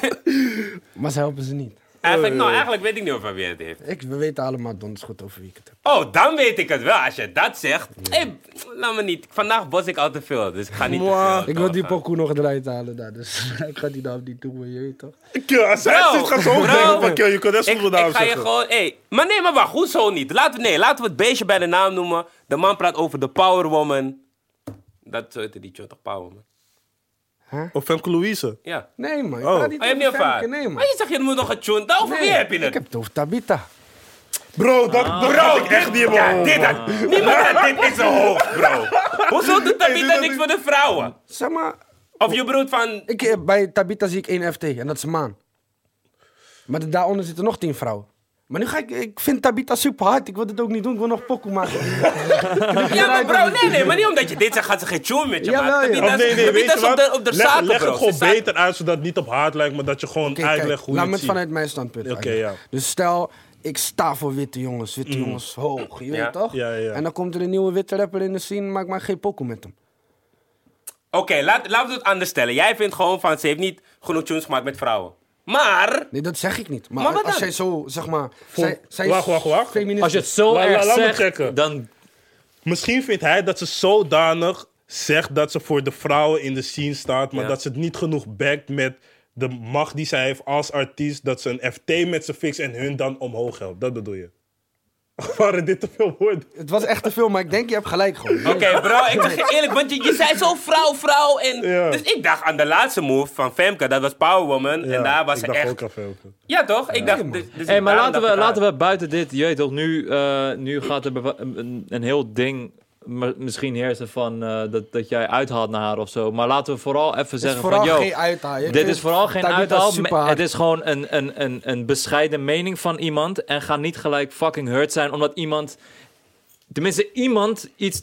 Maar ze helpen ze niet. Eigenlijk, nou, eigenlijk weet ik niet of hij weer het heeft. Ik, we weten allemaal donders goed over wie ik het heb. Oh, dan weet ik het wel. Als je dat zegt. Hey, laat me niet. Vandaag bos ik al te veel, dus ik ga niet te veel. Ik wil die pokoe nog eruit halen daar, dus ik ga die daar niet doen, maar je weet toch. Kill, als hij Bro, zit, gaat zo ook bro. denken van kill, je kunt net Ik, zoveel ik naam ga je zeggen. gewoon... Hey, maar nee, maar wacht. Hoezo niet? Laten we, nee, laten we het beestje bij de naam noemen. De man praat over de power woman. Dat zo heette die chot toch, power woman? Of Femke Louise. Ja. Nee man, ik Oh. ga niet Oh, je hebt over niet ervaren. Femke, Nee maar man. je zegt, je moet nog een tune. Daarover Nee, weer heb je Ik het. heb het over Tabita. Bro, dat, Ah. dat had ik echt niet in mijn Ja, hoofd, dit man. had... Niemand had dit in zijn hoofd, bro. Hoezo doet dit Tabitha had niks ik- voor de vrouwen? Zeg maar, Of je broert van... ik, eh, bij Tabita zie ik één FT en dat is Maan. Maar da- daaronder zitten nog tien vrouwen. Maar nu ga ik, ik vind Tabita super hard. Ik wil dit ook niet doen, ik wil nog pokoe maken. Ja, maar bro, nee, nee, maar niet omdat je dit zegt, gaat ze geen tune met je Jawel, maken. joh. Tabitha Of is- nee, nee, weet Tabitha je is op wat? de, op de Leg, zaken, leg bro. het gewoon Ze zaken. beter uit, zodat het niet op hard lijkt, maar dat je gewoon Oké, kijk, uitlegt hoe laat je me het het ziet. vanuit mijn standpunt Oké, uitleggen. ja. Dus stel, ik sta voor witte jongens, witte jongens hoog, je Ja. weet toch? Ja, ja. En dan komt er een nieuwe witte rapper in de scene, maak maar geen pokoe met hem. Oké, laat- laten we het anders stellen. Jij vindt gewoon van, ze heeft niet genoeg tunes gemaakt met vrouwen. Maar... Nee, dat zeg ik niet. Maar, Maar wat als dan? jij zo, zeg maar... Zij, zij is Wacht, wacht, wacht. feministisch. Als je het zo Laat- erg laat me zegt, checken. dan... Misschien vindt hij dat ze zodanig zegt dat ze voor de vrouwen in de scene staat, maar Ja. dat ze het niet genoeg backt met de macht die zij heeft als artiest, dat ze een FT met ze fixt en hun dan omhoog helpt. Dat bedoel je. Waren dit te veel woorden? Het was echt te veel, maar ik denk, je hebt gelijk gewoon. Oké, bro, ik zeg je eerlijk, want je, je zei zo vrouw, vrouw. En, Ja. Dus ik dacht aan de laatste move van Femke, dat was Power Woman. en daar was ik ze dacht echt... ook aan veel. Ja, toch? Ik dacht... Dus, dus Hey, ik maar daarom laten dacht we, ik aan. laten we buiten dit... Je weet toch, nu, eh, nu gaat er bewa- een, een heel ding m- misschien heersen van eh, dat, dat jij uithaalt naar haar of zo. Maar laten we vooral even Het is zeggen vooral van... Yo, geen uithaal. Je Dit vindt is vooral geen Tabitha uithaal. super me- hard. Het is gewoon een, een, een, een bescheiden mening van iemand. En ga niet gelijk fucking hurt zijn omdat iemand... Tenminste, iemand iets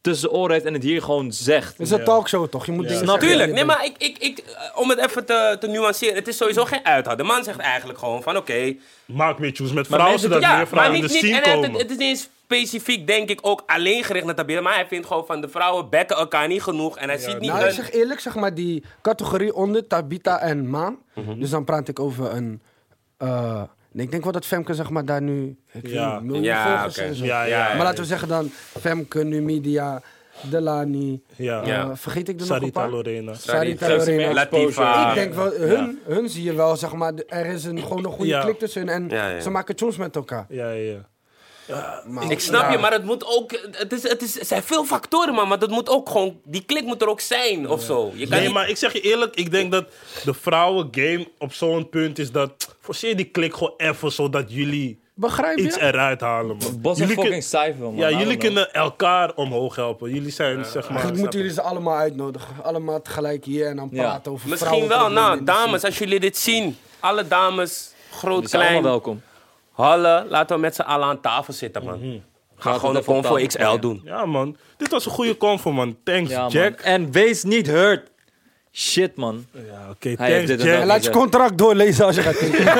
tussen de oren heeft en het hier gewoon zegt. Het is een talkshow toch? Je moet dingen Snap zeggen. Tuurlijk, nee, maar ik, ik, ik, eh, om het even te, te nuanceren, het is sowieso geen uithoud. De man zegt eigenlijk gewoon van, oké, Maak meer tunes met vrouwen, mensen- zodat ja, meer maar vrouwen niet, in niet, de scene en het, komen. het is niet eens specifiek, denk ik, ook alleen gericht naar Tabitha, maar hij vindt gewoon van, de vrouwen bekken elkaar niet genoeg en hij ziet niet Nou, ik hun- zeg eerlijk, zeg maar die categorie onder Tabita en Maan. Mhm. Dus dan praat ik over een. eh, nee, ik denk wel dat Femke zeg maar daar nu. Ik Ja. ja. miljoen Ja, volgers oké. en zo. Ja, ja, maar ja, laten we zeggen dan Femke, Numidia, Delani. Ja. Ja. eh, vergeet ik er nog een Sarita paar? Lorena. Sarita Sarita, Lorena. Ah, Latifa. Ik denk wel, hun, hun zie je wel, zeg maar, de- er is een, gewoon een goede Ja. klik tussen hun en Ja, ja. ze maken tunes met elkaar. Ja, ja, ja. Maar- Ik snap Ja. je, maar het moet ook. Het, is, het, is, er zijn veel factoren, man. Maar dat moet ook gewoon. Die klik moet er ook zijn of zo. Je kan Nee, niet- maar ik zeg je eerlijk, ik denk dat de vrouwengame op zo'n punt is dat... Forceer die klik gewoon even, zodat jullie Begrijp je? iets eruit halen, man. Bos is Jullie kun- fucking cijfer, man. Ja, I don't jullie know. kunnen elkaar omhoog helpen. Jullie zijn, zeg maar... Eigenlijk moeten jullie ze allemaal uitnodigen. Allemaal tegelijk hier en dan praten over misschien wel. vrouwenproblemen Nou, in de scene. dames, als jullie dit zien. Alle dames, groot, Jullie zijn allemaal klein. welkom. Hallen, laten we met z'n allen aan tafel zitten, man. Ga Mhm. Laten gewoon we een dat op vorm voor tafel XL gooien. doen. Ja, man. Dit was een goede convo, man. Thanks, Ja, man. Jack. En wees niet hurt. Shit, man. Ja, oké. Hij heeft thanks, dit en Jack. En dat. laat je contract doorlezen als je gaat tekenen.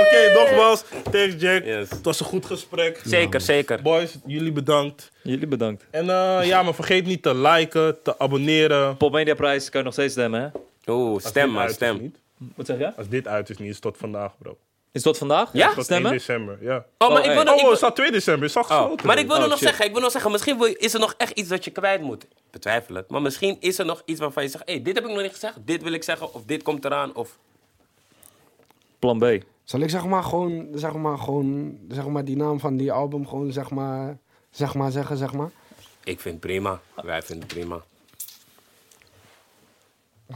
Oké, nogmaals. Thanks, Jack. Yes. Het was een goed gesprek. Zeker, zeker. Boys, jullie bedankt. Jullie bedankt. En eh, ja, maar vergeet niet te liken, te abonneren. Pop Media Prijs kan je nog steeds stemmen, hè? Oeh, Als Oh, stem, dit man, uit is stem. niet. Wat zeg je? Als dit uit is niet, is tot vandaag, bro. Is dat vandaag? Ja? Tot 1 Stemmen? december, ja. Oh, maar Oh, ik hey. wil nog. Oh, ik het wil- staat 2 december. Het is al Oh, gesloten. maar ik wil Oh, er nog shit. zeggen, ik wil nog zeggen, misschien wil- is er nog echt iets dat je kwijt moet. Ik betwijfel het. Maar misschien is er nog iets waarvan je zegt, hey, dit heb ik nog niet gezegd, dit wil ik zeggen, of dit komt eraan, of... Plan B. Zal ik zeg maar gewoon, zeg maar gewoon, zeg maar die naam van die album gewoon zeg maar, zeg maar zeggen, zeg maar. Ik vind het prima. Wij vinden het prima.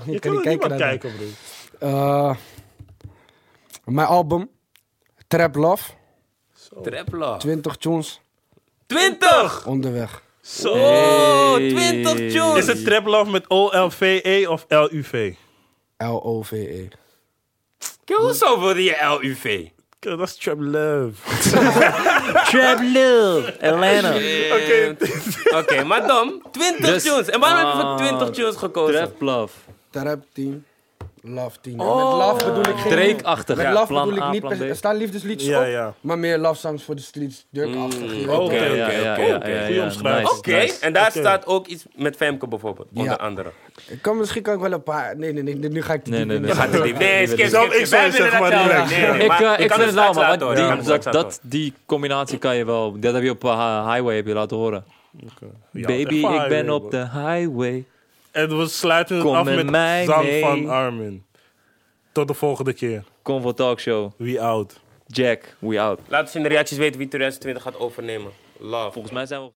Je, Je kan niet kan er niet kijken maar naar kijken, bro. dat. Eh, Mijn album, Trap Love, Trapla. 20 tunes 20! onderweg. Zo, Oh, Hey. 20 tunes! Is het Trap Love met O-L-V-E E of L-U-V? L-O-V-E. Hoezo wilde je LUV? Kijk, Dat is Trap Love. Trap Love, Atlanta. Oké, Oké, maar dan, 20 Dus- tunes. En waarom heb je voor Ah, 20 tunes gekozen? Trap love. Trap 10, Love 10. En Met Love bedoel ik geen... Drake-achtig. Met Ja, Love plan bedoel A, ik niet... plan per- B. Er staan liefdesliedjes Ja, op, ja. maar meer love songs voor de streets. Mm, Dirk-achtig. je weet oké. wel. Ja, ja, oké, ja, oké, ja, oké. ja, Goeie ja. omschrijving. Nice, Oké, nice. en daar Oké. staat ook iets met Femke bijvoorbeeld, onder andere. Ik kan misschien kan ik wel een paar... Nee, nee, nee. Nu ga ik te Nee, diep nee, in. nee. Ja, Gaat het niet. Nee, skip, skip, Zelf, skip. ik zou Wij willen zeggen, dat maar jou- relax. nee, nee, Ik, maar eh, je ik kan vind het wel, straks man. laten want horen, je kan Die, het dat, straks laten dat, die combinatie kan je wel... Dat heb je op eh, Highway heb je laten horen. Ja, Baby, echt waar, ik ben joh. op de highway. En we sluiten het Kom af met met mij Zang mee. van Armin. Tot de volgende keer. Kom voor talkshow. We out. Jack, we out. horen. Laat ons in de reacties weten wie 2020 gaat overnemen. Love. Volgens mij zijn we...